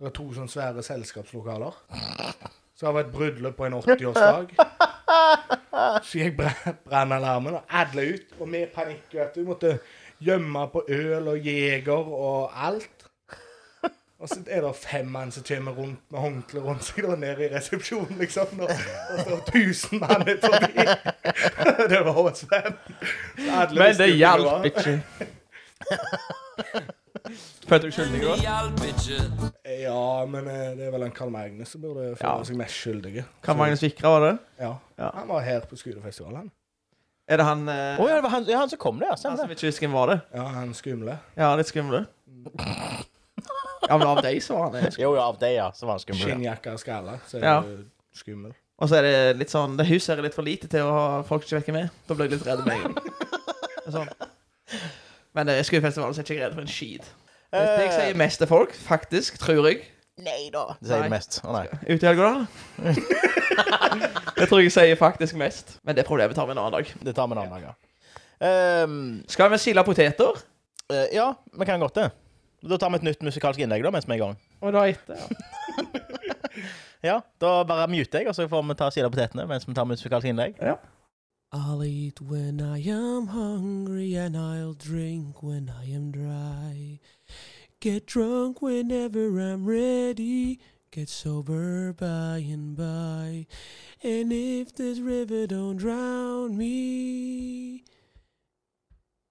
Speaker 3: det var to sånne svære selskapslokaler. Så det var et bryllup på en 80-årsdag. Så gikk bra- brannalarmen, og alle ut. Og vi i panikk, vet du. Måtte gjemme på øl og jeger og alt. Og så er det fem mann som kommer rundt med håndkle rundt seg da, nede i resepsjonen, liksom. Og, og så er det tusen mann ut forbi. det var også spennende. Alle
Speaker 2: Men
Speaker 3: visste
Speaker 2: det
Speaker 3: jo hvem
Speaker 2: hjalp
Speaker 3: var.
Speaker 2: ikke. Følte du deg skyldig da?
Speaker 3: Ja, men eh, det er vel en Karl Magnus som burde føle
Speaker 2: Ja.
Speaker 3: seg mest skyldige.
Speaker 2: Kan Magnus Vikra var det?
Speaker 3: Ja.
Speaker 2: Ja.
Speaker 3: Han var her på Skudefestivalen.
Speaker 2: Er det han eh,
Speaker 1: Å ja, det var han, ja, han som kom, det. Ja,
Speaker 2: Han som
Speaker 1: stemmer det.
Speaker 2: ikke husker hvem var det?
Speaker 3: Ja, han skumle.
Speaker 2: Ja, litt skummel. Ja, men av deg så var han det.
Speaker 1: Jo, ja, av det, ja. Så var han skummel. ja.
Speaker 3: Skinnjakke og skalle, så er
Speaker 2: Ja.
Speaker 3: du skummel.
Speaker 2: Og så er det litt sånn Det huset her er litt for lite til å ha folk ikke vekker med. Da blir jeg litt redd med en gang. Det er Sånn. Men eh, skuefestivalen så er jeg ikke redd for en skit. Det er det jeg sier mest til folk, faktisk, tror jeg.
Speaker 1: Eh, Nei da. Det sier
Speaker 2: Nei.
Speaker 1: det mest. Å nei.
Speaker 2: Ute i helga, da. Det tror jeg jeg sier faktisk mest. Men det problemet tar vi en annen dag.
Speaker 1: Det tar vi en annen gang. Ehm,
Speaker 2: Skal vi sile poteter?
Speaker 1: Eh, ja, vi kan godt det. Da tar vi et nytt musikalsk innlegg da, mens vi er i gang.
Speaker 2: Og da etter, ja.
Speaker 1: Ja, Da bare muter jeg, og så får vi ta sida potetene mens vi tar musikalsk innlegg.
Speaker 6: I'll eat when I am hungry and I'll drink when I am dry. Get drunk whenever I'm ready, get sober by and by. And if this river don't drown me,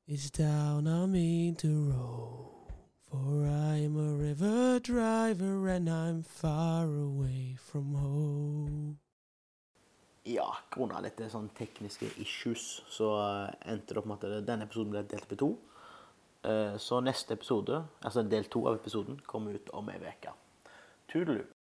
Speaker 6: it's down I mean to row. For I'm a river driver and I'm far away from home.
Speaker 1: Ja, eh, grunna litt sånn tekniske issues, så endte det opp med at denne episoden ble delt opp i to.
Speaker 7: Eh, Så neste episode, altså del to av episoden, kommer ut om ei uke. Tudelu.